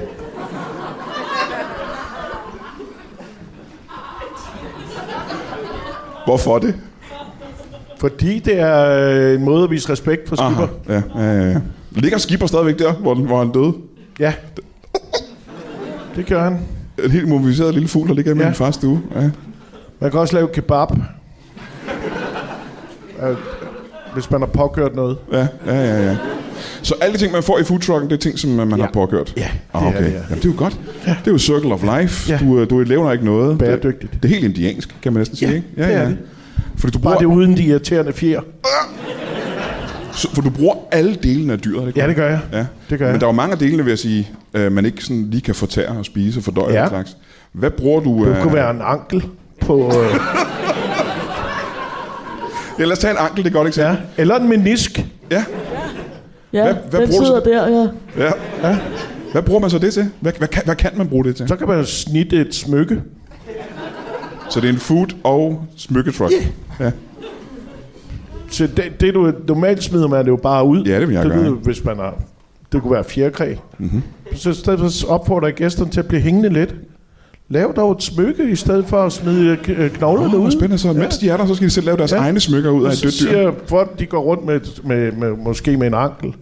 Hvorfor det? Fordi det er øh, en måde at vise respekt for Skipper. Aha. Ja, ja, ja, ja. Ligger Skipper stadigvæk der, hvor, den- hvor han døde? Ja. Det gør han. En helt mobiliseret lille fugl, der ligger i Ja. ja. min fars stue. Ja. Man kan også lave kebab. Øh, Hvis man har påkørt noget. Ja, ja, ja, ja. Så alle de ting, man får i foodtrucken, det er ting, som øh, man Ja. ja. har påkørt? Ja, ah, det er okay. det, ja. Jamen, det er jo godt. Ja. Det er jo circle of life. Ja. Ja. Du, øh, du lever ikke noget. Bæredygtigt. Det, det er helt indiansk, kan man næsten sige, Ja, ikke? det er det. Fordi du Bare bruger... det uden de irriterende fjer. Så, for du bruger alle delene af dyret, er det Ja, det gør jeg. Ja. Det gør jeg. Men der er jo mange af delene, vil jeg sige, øh, man ikke sådan lige kan fortære og spise og fordøje Ja. ja. slags. Hvad bruger du? øh, Det kunne være en ankel på... Øh, Ja, lad os tage en ankel, det er et godt ja. eksempel. Eller en menisk. Ja. Ja, Hvad- hvad den bruger du sidder så- der, ja. ja. ja. Hvad bruger man så det til? Hvad, hvad, kan, hvad kan man bruge det til? Så kan man jo snitte et smykke. Så det er en food- og smykketruck. Yeah. Ja. Så det, det du, normalt smider man det jo bare ud. Ja, det vil jeg Mhm. det gøre, lyder, hvis man har, Det kunne være fjerkræ. Mm-hmm. Så i stedet for opfordrer jeg gæsterne til at blive hængende lidt. Lav dog et smykke, i stedet for at smide øh, knoglerne Åh, ud. oh, spændende. Så mens de er der, så skal de selv lave deres Ja. ja. egne smykker ud af Og et så dødt dyr. siger folk, de går rundt med, et- med, med måske med en ankel.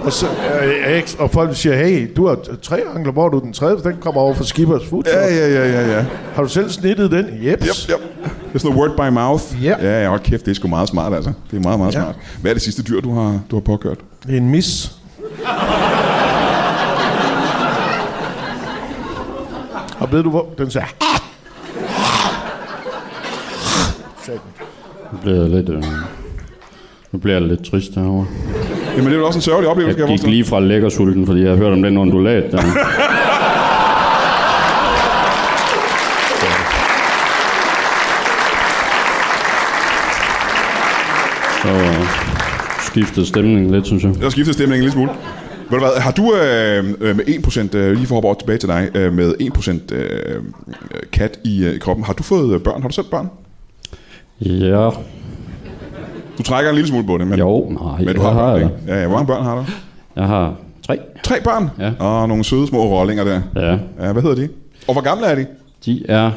Og, så, øh, eks- og folk siger, hey, du har t- tre ankler, hvor er du den tredje? Den kommer over fra Skibers Food. Ja, Ja, ja. ja, ja, ja, ja. Har du selv snittet den? Jeps. Yep, yep. Det er sådan noget word by mouth. Ja. Ja, ja, hold kæft, det er sgu meget smart, altså. Det er meget, meget Ja. smart. Hvad er det sidste dyr, du har, du har påkørt? Det er en mis. Og ved du hvor? Den sagde... "Ah!" Sagde den. Nu bliver jeg lidt, øh, nu bliver jeg lidt trist herovre. Jamen, det er jo også en sørgelig oplevelse, kan Jeg jeg gik forstå. lige fra lækkersulten, fordi jeg hørte om den undulat der. Så øh, skiftede stemningen lidt, synes jeg. Jeg har skiftet stemningen en lille smule. Ved du hvad, har du øh, øh, med 1%, øh, lige for at hoppe over tilbage til dig, øh, med 1% øh, øh, kat i, øh, i kroppen, har du fået øh, børn? Har du selv børn? Ja, Du trækker en lille smule på det, men, jo, nej, men du jeg har har børn, jeg. ikke? Ja, ja, hvor mange børn har du? Jeg har tre. Tre børn? Ja. Og nogle søde små rollinger der. Ja, Ja, hvad hedder de? Og hvor gamle er de? de er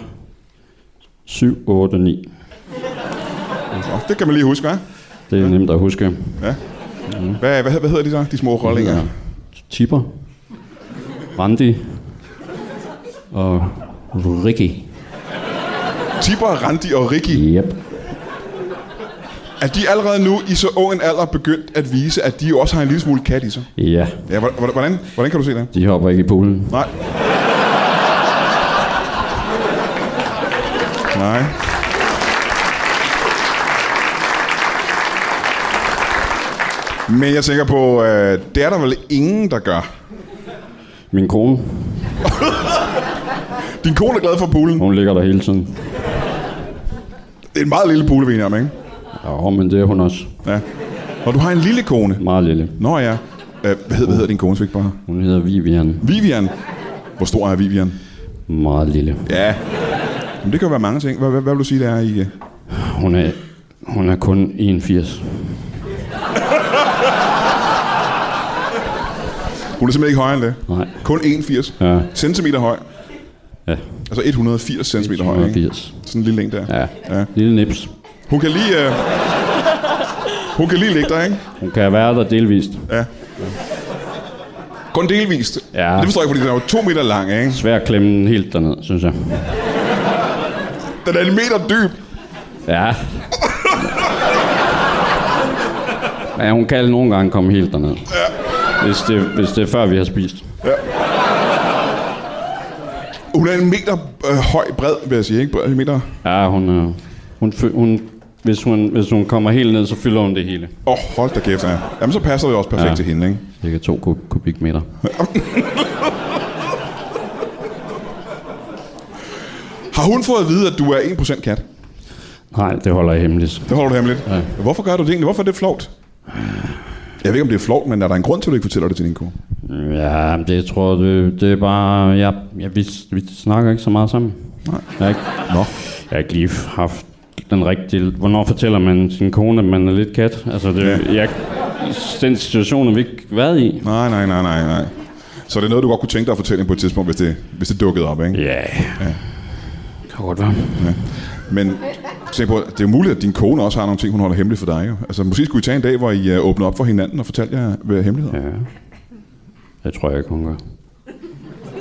7, 8, 9. Nå, det kan man lige huske, hva'? Det er nemt at huske. Hvad, hvad, hvad hedder de så, de små rollinger? Ja. Tipper, Randi og Ricky. Tibber, Randi og Ricky. Yep. Er de allerede nu i så ung en alder begyndt at vise, at de jo også har en lille smule kat i sig? Ja, Ja, hvor- hvor- hvordan, hvordan kan du se det? de hopper ikke i poolen. Nej. Nej. Men jeg tænker på, øh, det er der vel ingen, der gør. Min kone, Din kone er glad for poolen. hun ligger der hele tiden. Det er en meget lille pool, vi er enige om, ikke? Ja, men det er hun også. Ja. Og du har en lille kone. Meget lille. Nå ja. Øh, hvad, hed, hvad hedder din kone, så ikke bare? Hun hedder Vivian. Vivian. Hvor stor er Vivian? Meget lille. Ja. Men det kan jo være mange ting. Hvad, hvad, hvad vil du sige, det er i... øh? Hun er, hun er kun 81. Hun er simpelthen ikke højere end det. Nej. Kun 81 Ja, centimeter høj. ja. Altså 180 centimeter høj, ikke? 180. Sådan en lille en der. Ja. Ja. Lille nips. Hun kan lige... Øh... Hun kan lige ligge der, ikke? Hun kan være der delvist. Kun delvist. Ja. Det forstår jeg, fordi den er jo to meter lang, ikke? Svær at klemme den helt derned, synes jeg. Den er en meter dyb. Ja. Ja, hun kan nogle gange komme helt derned. Ja. Hvis det, hvis det er før, vi har spist. Hun er en meter øh, høj bred, vil jeg sige, ikke? Bred, en meter... Ja, hun, øh, hun, fø- hun, hvis, hun, hvis hun kommer helt ned, så fylder hun det hele. Åh, oh, hold da kæft, ja. Jamen, så passer det også perfekt ja. Ja. til hende, ikke? Cirka 2 kub- kubikmeter. Har hun fået at vide, at du er 1% kat? Nej, det holder jeg hemmeligt. Det holder du hemmeligt. Ja. Hvorfor gør du det egentlig? Hvorfor er det flovt? Jeg ved ikke, om det er flovt, men er der en grund til, at du ikke fortæller det til din kone? Ja, det jeg tror det, det er bare... Jeg, jeg, vi, vi snakker ikke så meget sammen. Nej. Jeg, har ikke, Nå. jeg har ikke lige haft den rigtige... Hvornår fortæller man sin kone, at man er lidt kat? Altså, det, ja. jeg, den situation har vi ikke været i. Nej, nej, nej, nej, nej. Så det er noget, du godt kunne tænke dig at fortælle hende på et tidspunkt, hvis det, hvis det dukkede op, ikke? Ja. ja. Kan godt være. Men tænk på, det er jo muligt, at din kone også har nogle ting, hun holder hemmeligt for dig. Jo. Altså, måske skulle I tage en dag, hvor I uh, åbner op for hinanden og fortæller jer hvad hemmeligheder. Ja. Det tror jeg ikke, hun gør.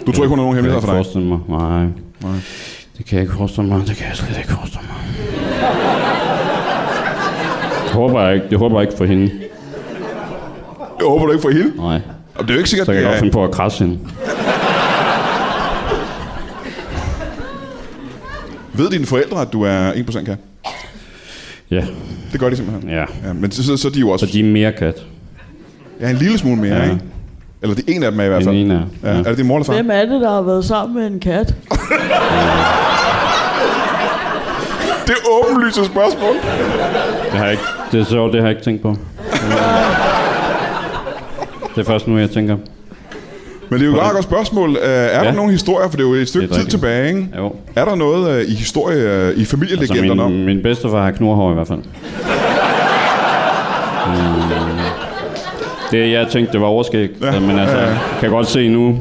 Du tror ikke, hun har nogen Det kan hemmeligheder jeg ikke for dig? forestille mig. Nej. Nej. Det kan jeg ikke forestille mig. Det kan jeg slet ikke forestille mig. Det håber jeg ikke, det håber jeg ikke for hende. Jeg håber du ikke for hende. Nej. Og det er jo ikke sikkert, øh, Så det kan jeg godt er, finde på at krasse hende. ved dine forældre, at du er 1% kat? Ja, Det gør de simpelthen. ja. Ja, men så, så, så er de jo også Så de er mere kat, ja, en lille smule mere, ja. Ja. ikke? Eller det ene af dem er i hvert end fald. en er. Ja. Er det din mor eller far? Hvem er det, der har været sammen med en kat? Det er åbenlyst et spørgsmål. Det har jeg ikke, det er sjovt, det har jeg ikke tænkt på. Det er først nu, jeg tænker. Men det er jo et meget godt spørgsmål. Øh, er ja. der Ja. nogle historier? For det er jo et stykke Det er tid rigtigt. tilbage, ikke? Jo. Er der noget øh, i historie, øh, i Så familielegenderne om? min, min bedstefar har knurhår i hvert fald. Mm. Det, jeg tænkte, det var overskæg. Ja, Ja. Men altså, ja, ja. jeg kan godt se nu,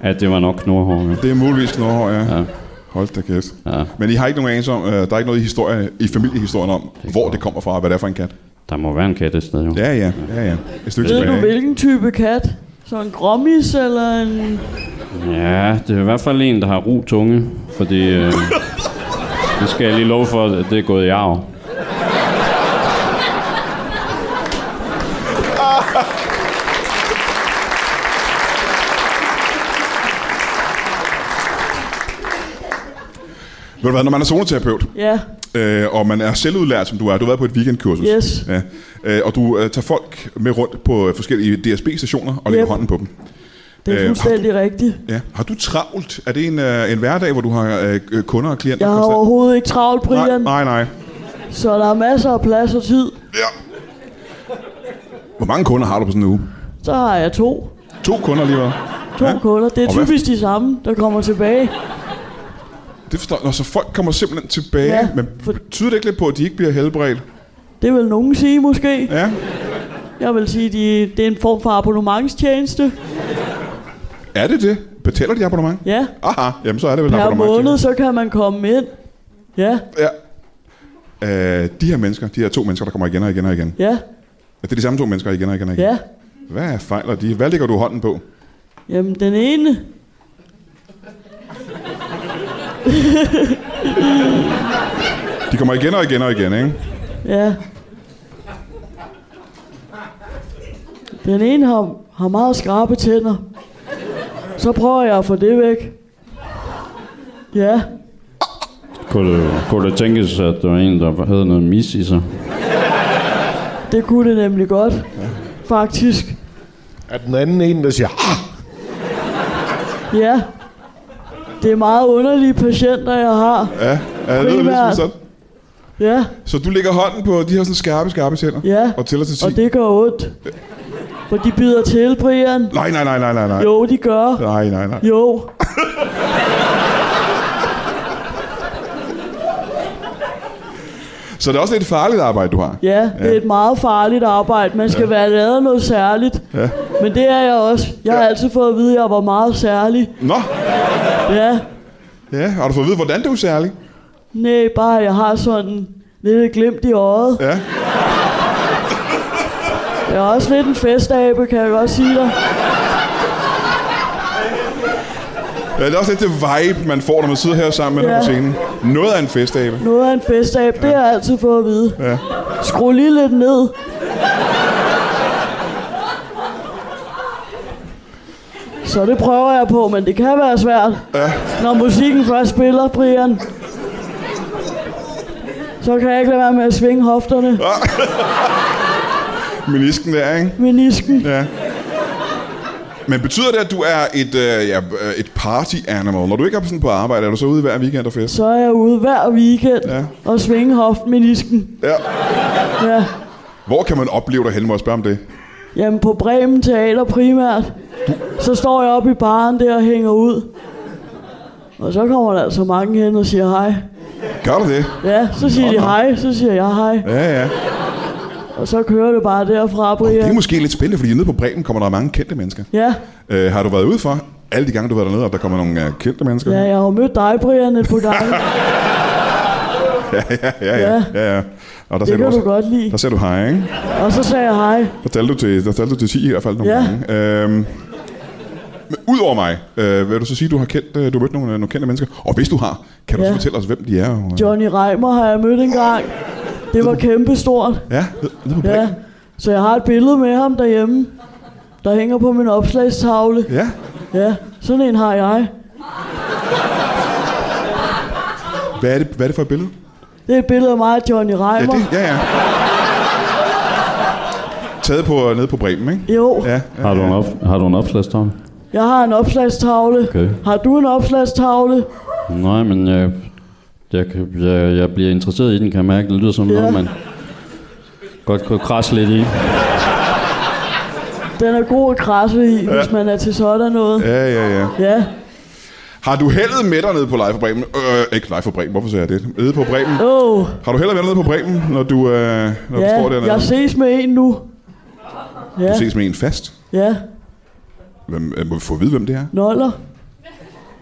at det var nok knurhår. Ja. Det er muligvis Knorhøj, ja. ja. Ja. Hold da kæft. Ja. Men I har ikke nogen anelse om, øh, der er ikke noget i, historie, i familiehistorien om, det hvor det kommer fra, og hvad det er for en kat? Der må være en kat et sted, jo. Ja, ja, ja, ja. Et stykke Ved du, tilbage. ikke? hvilken type kat? Så en grommis eller en... ja, det er i hvert fald en, der har ru tunge. Fordi, øh, det skal jeg lige love for, at det er gået i arv. Ved du hvad, når man er zoneterapeut, Ja, øh, og man er selvudlært, som du er, du har været på et weekendkursus, Yes. ja, øh, og du øh, tager folk med rundt på øh, forskellige DSB-stationer og lægger Yep. hånden på dem. det Øh, er fuldstændig rigtigt. Ja. Har du travlt? Er det en, øh, en hverdag, hvor du har øh, øh, kunder og klienter? Jeg har konstant? overhovedet ikke travlt, Brian, Nej, nej, nej. så der er masser af plads og tid. Ja. Hvor mange kunder har du på sådan en uge? Så har jeg to. To kunder alligevel. To Ja. ja. kunder. Det er Og hvad- typisk de samme, der kommer tilbage. Det forstår jeg. Nå, så folk kommer simpelthen tilbage. Ja, Ja, men for- tyder det ikke lidt på, at de ikke bliver helbredt? Det vil nogen sige måske. Ja. Jeg vil sige, de, det er en form for abonnementstjeneste. Er det det? Betaler de abonnement? Ja, Aha, jamen så er det vel per abonnement. måned, så kan man komme ind. Ja, Ja. Øh, de her mennesker, de her to mennesker, der kommer igen og igen og igen. ja, Er det de samme to mennesker igen og igen og igen? ja. Hvad fejler de? Hvad ligger du hånden på? Jamen, den ene... De kommer igen og igen og igen, ikke? Ja. Den ene har, har meget skarpe tænder. Så prøver jeg at få det væk. Ja, Kunne det, kunne det tænkes, at der var en, der havde noget mis i sig? det kunne det nemlig godt. Faktisk. Er den anden en, der siger, ah, Ja. Det er meget underlige patienter, jeg har. Ja, ja det lyder lidt som Primært. sådan. Ja, Så du lægger hånden på de her sådan skarpe, skarpe tænder? ja. Og tæller til 10? Og det gør ondt. For de bider til, Brian. Nej, nej, nej, nej, nej, nej. Jo, de gør. Nej, nej, nej. Jo. Så det er også lidt farligt arbejde, du har. Ja, det er et meget farligt arbejde. Man skal ja. være lavet noget særligt. Ja. Men det er jeg også. Jeg har Ja. altid fået at vide, at jeg var meget særlig. Nå, Ja. ja, har du fået at vide, hvordan du er særlig? Nej, bare jeg har sådan lidt et glimt i øjet. Ja. Jeg er også lidt en festabe, kan jeg godt sige dig. ja, det er også lidt det vibe, man får, når man sidder her sammen med ja. Ja. på scenen. Noget af en festabe. Noget af en festabe, det har jeg altid fået at vide. Ja. Skru lige lidt ned. Så det prøver jeg på, men det kan være svært. Ja. Når musikken først spiller, Brian, så kan jeg ikke lade være med at svinge hofterne, Menisken der, ikke? menisken. Ja. Men betyder det, at du er et, øh, ja, øh, et party animal? Når du ikke er sådan på arbejde, er du så ude hver weekend og fest? Så er jeg ude hver weekend Ja. og svinge hoften, menisken. Ja. Ja. Hvor kan man opleve dig henne, må jeg spørge om det? Jamen på Bremen Teater primært. Så står jeg oppe i baren der og hænger ud. Og så kommer der altså mange hen og siger hej. Gør du det? Ja, så siger de hej, så siger jeg hej. Ja, ja. Og så kører det bare derfra, Det er Brian. måske lidt spændende, fordi nede på Bremen kommer der mange kendte mennesker. Ja, Øh, har du været ude for alle de gange, du har været dernede, at der kommer nogle øh, kendte mennesker? ja, jeg har jo mødt dig, Brian, et par gange. ja, ja. ja, ja. Og der Det sagde du kan også, du godt lide. Der sagde du hej, ikke? Og så sagde jeg hej. Der talte du til, der talte du til 10 i hvert fald nogle Ja. gange. Øhm, men Udover mig, øh, vil du så sige, du har kendt, øh, du har mødt nogle, nogle kendte mennesker? Og hvis du har, kan du ja. Ja. så fortælle os, hvem de er? Og, øh, Johnny Reimer har jeg mødt engang. Det var kæmpestort. Ja, ned- ned på Ja. ja. Så jeg har et billede med ham derhjemme, der hænger på min opslagstavle. ja. Ja, sådan en har jeg. Hvad er, det, hvad er det for et billede? Det er et billede af mig og Johnny Ja, Reimer. det, ja, ja. Taget på, nede på Bremen, ikke? Jo, ja. Ja, ja. Har du en, op- har du en opslagstavle? jeg har en opslagstavle. Okay. Har du en opslagstavle? Nej, men jeg, jeg, kan- jeg, jeg bliver interesseret i den, kan jeg mærke. Det lyder som Ja. ja. noget, man godt kunne krasse lidt i. Den er god at krasse i, ja. hvis man er til sådan noget. Ja. Ja, ja, ja. ja. Har du heldet med dig nede på Live for Bremen? Øh, ikke Live for Bremen, hvorfor sagde jeg det? Nede på Bremen. Oh, Har du heldet med dig nede på Bremen, når du, øh, når du står ja. dernede? Jeg ses med en nu. Ja, Du ses med en fast. ja. Hvem, øh, må vi få at vide, hvem det er? Noller.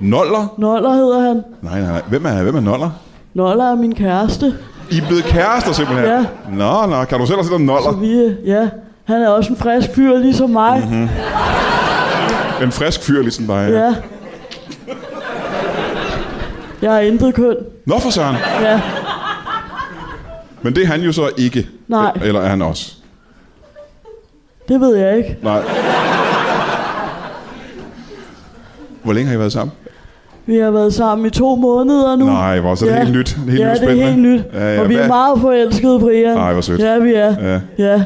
Noller? Noller hedder han. Nej, nej, nej. Hvem er, hvem er Noller? Noller er min kæreste. I er blevet kærester simpelthen. Ja. Nå, nå. Kan du selv også sætte Noller? Vi, øh, ja, han er også en frisk fyr, ligesom mig. Mhm. Mm-hmm. En frisk fyr, ligesom dig. Ja. Jeg har intet køn. Nå for søren. Ja. Men det er han jo så ikke. Nej. Eller er han også? Det ved jeg ikke. Nej. Hvor længe har I været sammen? Vi har været sammen i to måneder nu. Nej, hvor så er det helt nyt. Helt ja, nyt det er spændende. helt nyt. Ja, ja, og vi er hvad- meget forelskede, Brian. Ej, hvor sødt. Ja, vi er. Ja. Ja. ja.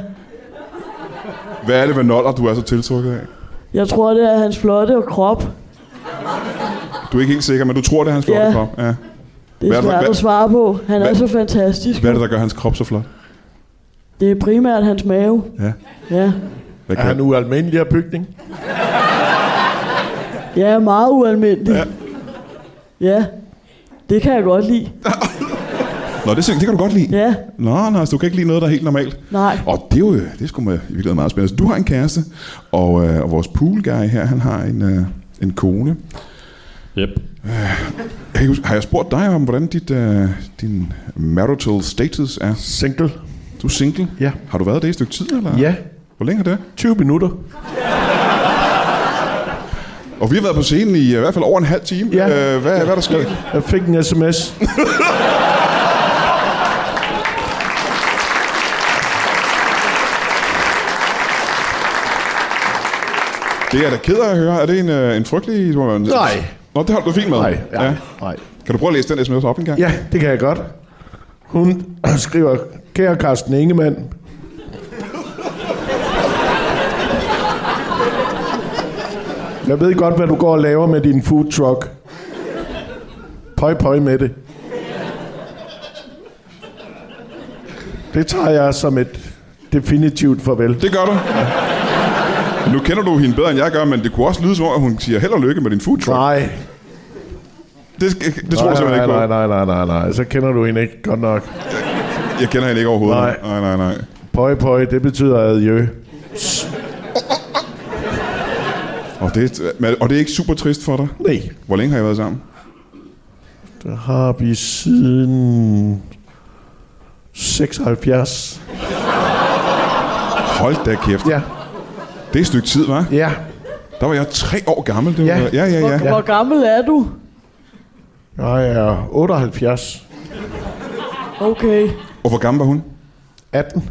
Hvad er det ved Noller, du er så tiltrukket af? Jeg tror, det er hans flotte og krop. Du er ikke helt sikker, men du tror, det er hans flotte Ja. krop. Ja. Det Hvad er er det- svært hvad- at svare på. Han er hvad- så fantastisk. Hvad er det, der gør hans krop så flot? Det er primært hans mave. Ja. Ja. Hvad Er kan... han ualmindelig af bygning? Jeg er meget ualmindelig. Ja. ja. Det kan jeg godt lide. Nå, det, synes- det kan du godt lide. Ja. Nå, nå, altså, du kan ikke lide noget, der er helt normalt. Nej. Og det er jo det er sgu med, i virkeligheden meget spændende. Så du har en kæreste, og, øh, og vores poolguy her, han har en, øh, en kone. Yep. Jeg kan ikke huske- har jeg spurgt dig om, hvordan dit, øh, din marital status er? Single. Du er single? Ja. Har du været det i et stykke tid, eller? Ja. Hvor længe er det? 20 minutter. Og vi har været på scenen i, øh, i hvert fald over en halv time. Ja. Øh, hvad, hvad er der sket? Jeg fik en sms. Det er jeg da ked af at høre. Er det en, øh, en frygtelig... du må være- Nej. Nå, det har du fint med. Nej, ja, nej. Kan du prøve at læse den sms op en gang? Ja, det kan jeg godt. Hun skriver, kære Carsten Ingemann, jeg ved godt, hvad du går og laver med din food truck. Pøj, pøj med det. Det tager jeg som et definitivt farvel. Det gør du. Nu kender du hende bedre, end jeg gør, men det kunne også lyde som om, at hun siger held og lykke med din food truck. Nej, Det, sk- det tror nej, jeg simpelthen nej, ikke på. nej, nej, nej, nej, nej, så kender du hende ikke godt nok. Jeg kender hende ikke overhovedet. Nej. nej, nej. nej. Pøj, pøj, det betyder adjø. Og, det, men, og det er ikke super trist for dig? Nej, Hvor længe har I været sammen? Der har vi siden 76. Hold da kæft. Ja, Det er et stykke tid, var. ja. Der var jeg tre år gammel. Det var, Ja. ja, ja, ja. Hvor, hvor gammel er du? Jeg er 78. Okay. Og hvor gammel var hun? 18.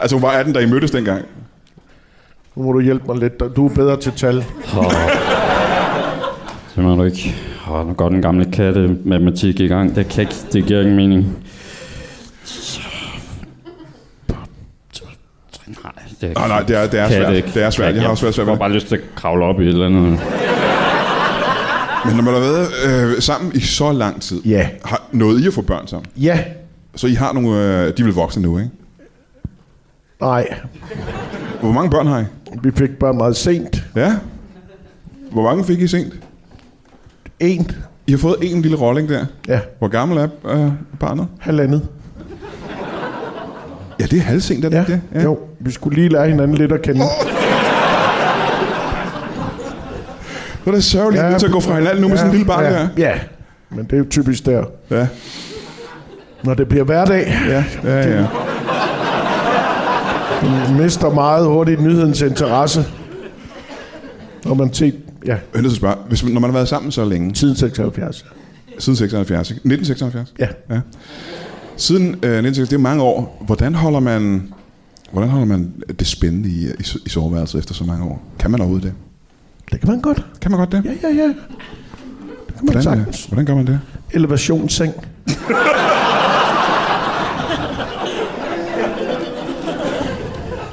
Altså, hun var 18, da I mødtes dengang. Nu må du hjælpe mig lidt. Du er bedre til tal. Det må du ikke. Åh, nu går den gamle katte matematik i gang. Det, kan ikke, det giver ikke mening. Nej, det er, Nej, nej, det er, det er kan jeg svært. ikke. Det er svært. Jeg har også været svært Jeg ved får det. bare lyst til at kravle op i et eller andet. Men når man har været øh, sammen i så lang tid, Ja. har noget I at få børn sammen. Ja. Så I har nogle... Øh, de vil vokse nu, ikke? Nej. Hvor mange børn har I? Vi fik bare meget sent. Ja. Hvor mange fik I sent? En. I har fået en lille rolling der. Ja. Hvor gammel er øh, barnet? Halvandet. Ja, det er halvsent, er det Ja. ikke det? ja. Jo, vi skulle lige lære hinanden lidt at kende. Det er da sørgeligt, ja. Ja. at gå fra hinanden nu med sådan en lille barn ja. der. Ja. Men det er jo typisk der. Ja, Når det bliver hverdag, ja, ja. ja. mister meget hurtigt nyhedens interesse. Når man set, ja, Jeg er nødt til at spørge, hvis, man- når man har været sammen så længe, siden 76. siden 76, ikke? 1976? Ja. ja. Siden øh, 1976, det er mange år. Hvordan holder man, hvordan holder man det spændende i, i, i soveværelset efter så mange år? Kan man overhovedet det? Det kan man godt. Kan man godt det? Ja, ja, ja. kan man Hvordan, sagtens. øh, hvordan gør man det? Elevationsseng.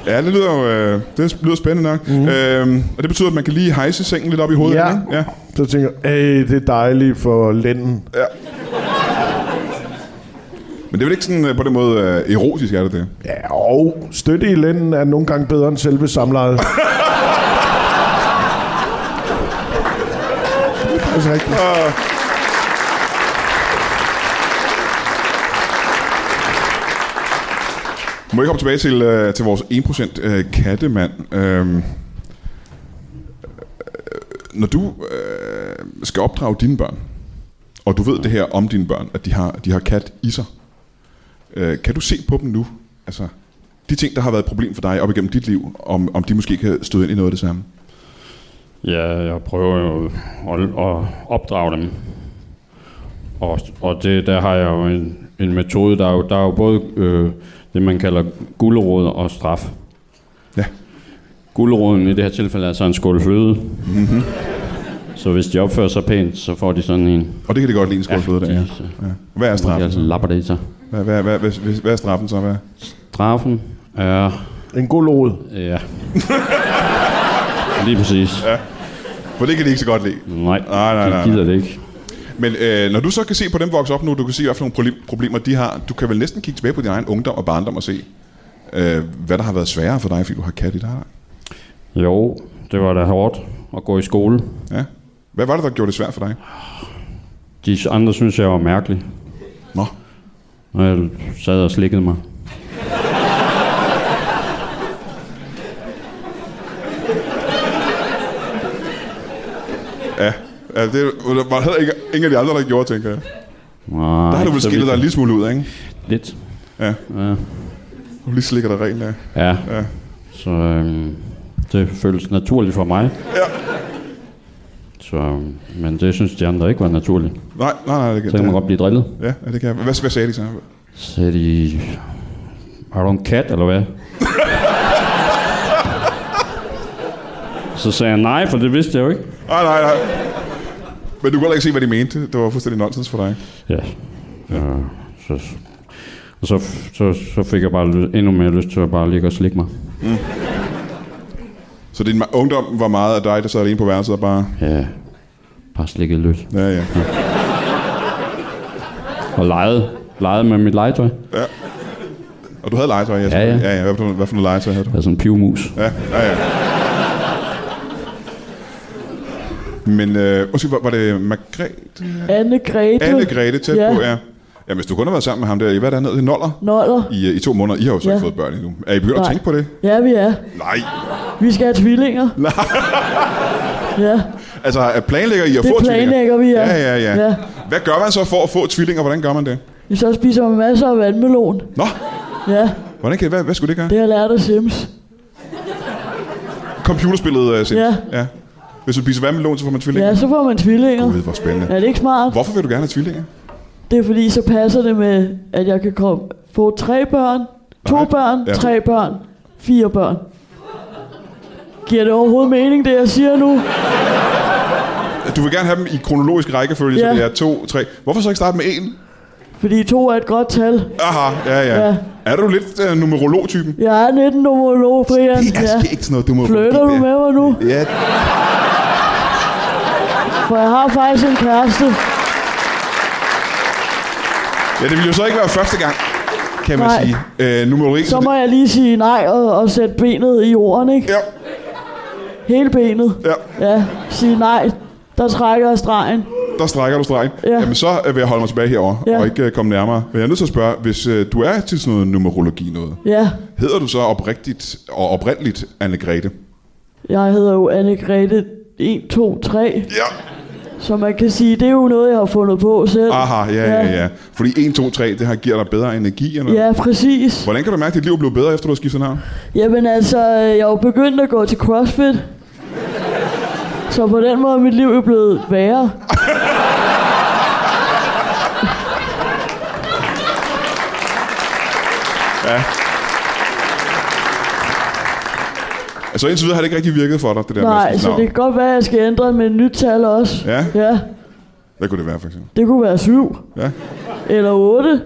Ja, det lyder jo øh, det lyder spændende nok. Mm. Øhm, og det betyder, at man kan lige hejse sengen lidt op i hovedet. Ja. ikke? ja. Så tænker jeg, "Ej, det er dejligt for lænden. Men det er vel ikke sådan øh, på den måde øh, erotisk, er det det? Ja, og støtte i lænden er nogle gange bedre end selve samlejet. det er faktisk rigtigt. Må jeg komme tilbage til, øh, til vores 1% øh, kattemand? Øhm, øh, når du øh, skal opdrage dine børn, og du ved det her om dine børn, at de har, de har kat i sig, øh, kan du se på dem nu? Altså, de ting, der har været et problem for dig op igennem dit liv, om, om de måske kan støde ind i noget af det samme? Ja, jeg prøver jo at, at opdrage dem. Og, og det, der har jeg jo en, en metode, der er jo, der er jo både øh, det, man kalder gulerod og straf. Ja. Guleroden i det her tilfælde er så en skål fløde. Mm-hmm. Så hvis de opfører sig pænt, så får de sådan en. Og det kan det godt lide en skål fløde, der. Ja. Så, Hvad er de straffen? altså så? lapper det i sig. Hvad, hvad, hvad, hvad, hvad, hvad er straffen så? Hvad? Straffen er... En god lod. Ja. Lige præcis. Ja. For det kan de ikke så godt lide. Nej, Nej, nej, nej, de gider det ikke. Men øh, når du så kan se på dem vokse op nu, du kan se, hvad for nogle proble- problemer de har. Du kan vel næsten kigge tilbage på din egen ungdom og barndom og se, øh, hvad der har været sværere for dig, fordi du har kat i dig. Jo, det var da hårdt at gå i skole. Ja. Hvad var det, der gjorde det svært for dig? De andre synes jeg var mærkelig, Nå, når jeg sad og slikkede mig. ja, det var heller ikke ingen af de andre, der gjorde, tænker jeg. Nej, Der har du vel så skillet dig en vidt. lille smule ud, ikke? Lidt. Ja. Ja. Du lige slikker dig rent af. ja. Ja. Så øhm, det føles naturligt for mig. Ja. Så, øhm, men det synes de andre ikke var naturligt. Nej, nej, nej, det kan, Så kan man det, godt blive drillet. ja, ja, det kan jeg. Hvad, hvad sagde de så? Så sagde de, har du en kat, eller hvad? så sagde jeg nej, for det vidste jeg jo ikke. Nej, nej, nej. Men du kunne heller ikke se, hvad de mente. Det var fuldstændig nonsens for dig. Ja. ja. Så, og så, så, så fik jeg bare ly- endnu mere lyst til at bare ligge og slikke mig. Så din ma- ungdom var meget af dig, der sad alene på værelset og bare... Ja. Bare slikket løs. Ja, ja. Og legede. Legede med mit legetøj. Og du havde legetøj, jeg Ja, ja. ja, ja. Hvad, for, noget- hvad for noget legetøj havde du? Jeg er sådan Altså en pivmus. Ja, ja, ja. Men, øh, undskyld, var, var det Margrethe? Anne Grete. Anne Grete tæt Ja. ja. på, ja. Ja, hvis du kun har været sammen med ham der, i hvad er det, han hedder? Det er Noller? Noller. I, øh, I to måneder, I har jo så Ja. ikke fået børn endnu. Er I begyndt at Nej. tænke på det? Ja, vi er. Nej. Vi skal have tvillinger. ja, Altså, er- planlægger I at Det få planlægger vi, ja. ja. Ja, ja, ja. Ja. Hvad gør man så for at få tvillinger? Hvordan gør man det? så spiser man masser af vandmelon. Nå, Ja, hvordan kan det, hvad, hvad skulle det gøre? det har jeg lært af Sims. Computerspillet, øh, Sims. Ja. ja. Hvis du spiser vandmelon, så får man tvillinger. Ja, så får man tvillinger. Gud, hvor spændende. Er det ikke smart? Hvorfor vil du gerne have tvillinger? Det er fordi, så passer det med, at jeg kan komme, få tre børn, to Nej. børn, Ja. tre børn, fire børn. Giver det overhovedet mening, det jeg siger nu? Du vil gerne have dem i kronologisk rækkefølge, ja. Ja. så det er to, tre. Hvorfor så ikke starte med en? Fordi to er et godt tal. Aha, ja, ja. ja. Ja. Er du lidt uh, numerolog-typen? Jeg er 19 numerolog, Brian. Det er Ja. skægt sådan noget, du må... Flytter du med mig nu? Ja, For jeg har faktisk en kæreste. ja, det ville jo så ikke være første gang, kan man Nej. sige. Uh, numerologi. Så må jeg lige sige nej og, og sætte benet i jorden, ikke? Ja, Hele benet. ja. Ja, sige nej. Der trækker jeg stregen. Der strækker du stregen. Ja. Ja. Jamen, så øh, vil jeg holde mig tilbage herover ja. Ja. og ikke uh, komme nærmere. Men jeg er nødt til at spørge, hvis uh, du er til sådan noget numerologi noget, Ja, hedder du så oprigtigt og oprindeligt Anne-Grethe? jeg hedder jo Anne-Grethe 1, 2, 3. Ja. Så man kan sige, det er jo noget, jeg har fundet på selv. Aha, ja, ja, Ja, ja. Fordi 1, 2, 3, det her giver dig bedre energi. Eller? ja præcis. Hvordan kan du mærke, at dit liv blev bedre, efter du har skiftet navn? Jamen altså, jeg er jo begyndt at gå til CrossFit. Så på den måde er mit liv jo blevet værre. Altså indtil videre har det ikke rigtig virket for dig, det der med Nej, at skifte så navn. det kan godt være, at jeg skal ændre med et nyt tal også. altså, Ja. ja. Hvad kunne det være, for eksempel? Det kunne være syv. Ja. Eller otte.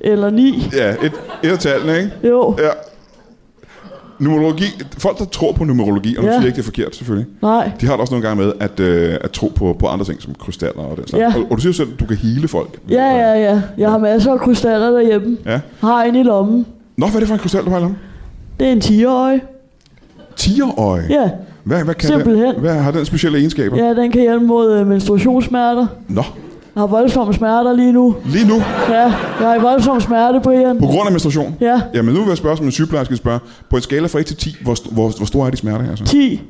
Eller ni. Ja, et, et af tallene, ikke? Jo. Ja. Numerologi. Folk, der tror på numerologi, og nu Ja. siger jeg ikke, det er forkert, selvfølgelig. Nej. De har det også nogle gange med at, øh, at tro på, på andre ting, som krystaller og den slags. Ja. Og, og du siger jo selv, at du kan hele folk. Ja, ja, ja. Jeg har masser af krystaller derhjemme. ja. Har en i lommen. Nå, hvad er det for en krystal, du har i lommen? Det er en 10-årig. Tigerøje. Ja. Hvad, hvad kan Simpelthen. Den, hvad har den specielle egenskaber? ja, den kan hjælpe mod øh, menstruationssmerter. Nå, Jeg har voldsomme smerter lige nu. lige nu, Ja, jeg har voldsom smerte, Brian. på grund af menstruation. Ja, Jamen nu vil jeg spørge, som en sygeplejerske spørger, på en skala fra 1 til 10, hvor, st- hvor, hvor stor er de smerter? Altså? 10.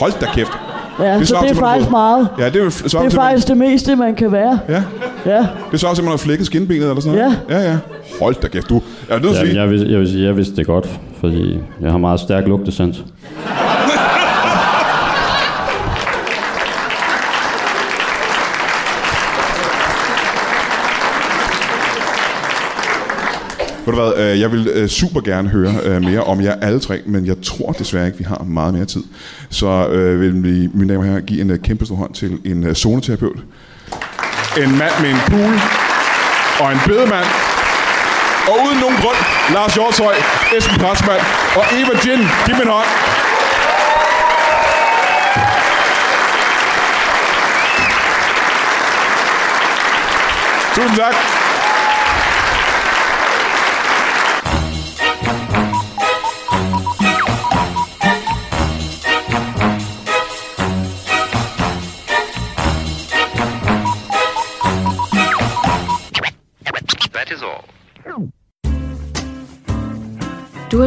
Hold da kæft. Ja, Det det så svarer til, det er hvad du faktisk får. meget. Ja, det er, jo f- så Det er til, faktisk det meste, man kan være. Ja, Ja, det er så også, at man har flækket skinbenet eller sådan noget. Ja, ja. Hold da kæft, du. Jeg er nødt til at Ja, sige, jeg, vil, jeg vil sige, jeg vidste det godt, fordi jeg har meget stærk lugtesans. ved du hvad, øh, jeg vil øh, super gerne høre øh, mere om jer alle tre, men jeg tror desværre ikke, vi har meget mere tid. Så øh, vil vi, mine damer og herrer, give en øh, kæmpe stor hånd til en øh, zoneterapeut. En mand med en pool og en bedemand. Og uden nogen grund, Lars Hjortøj, Esben Krasmann og Eva Jin. Giv dem en hånd. Tusind tak. That is all. Du har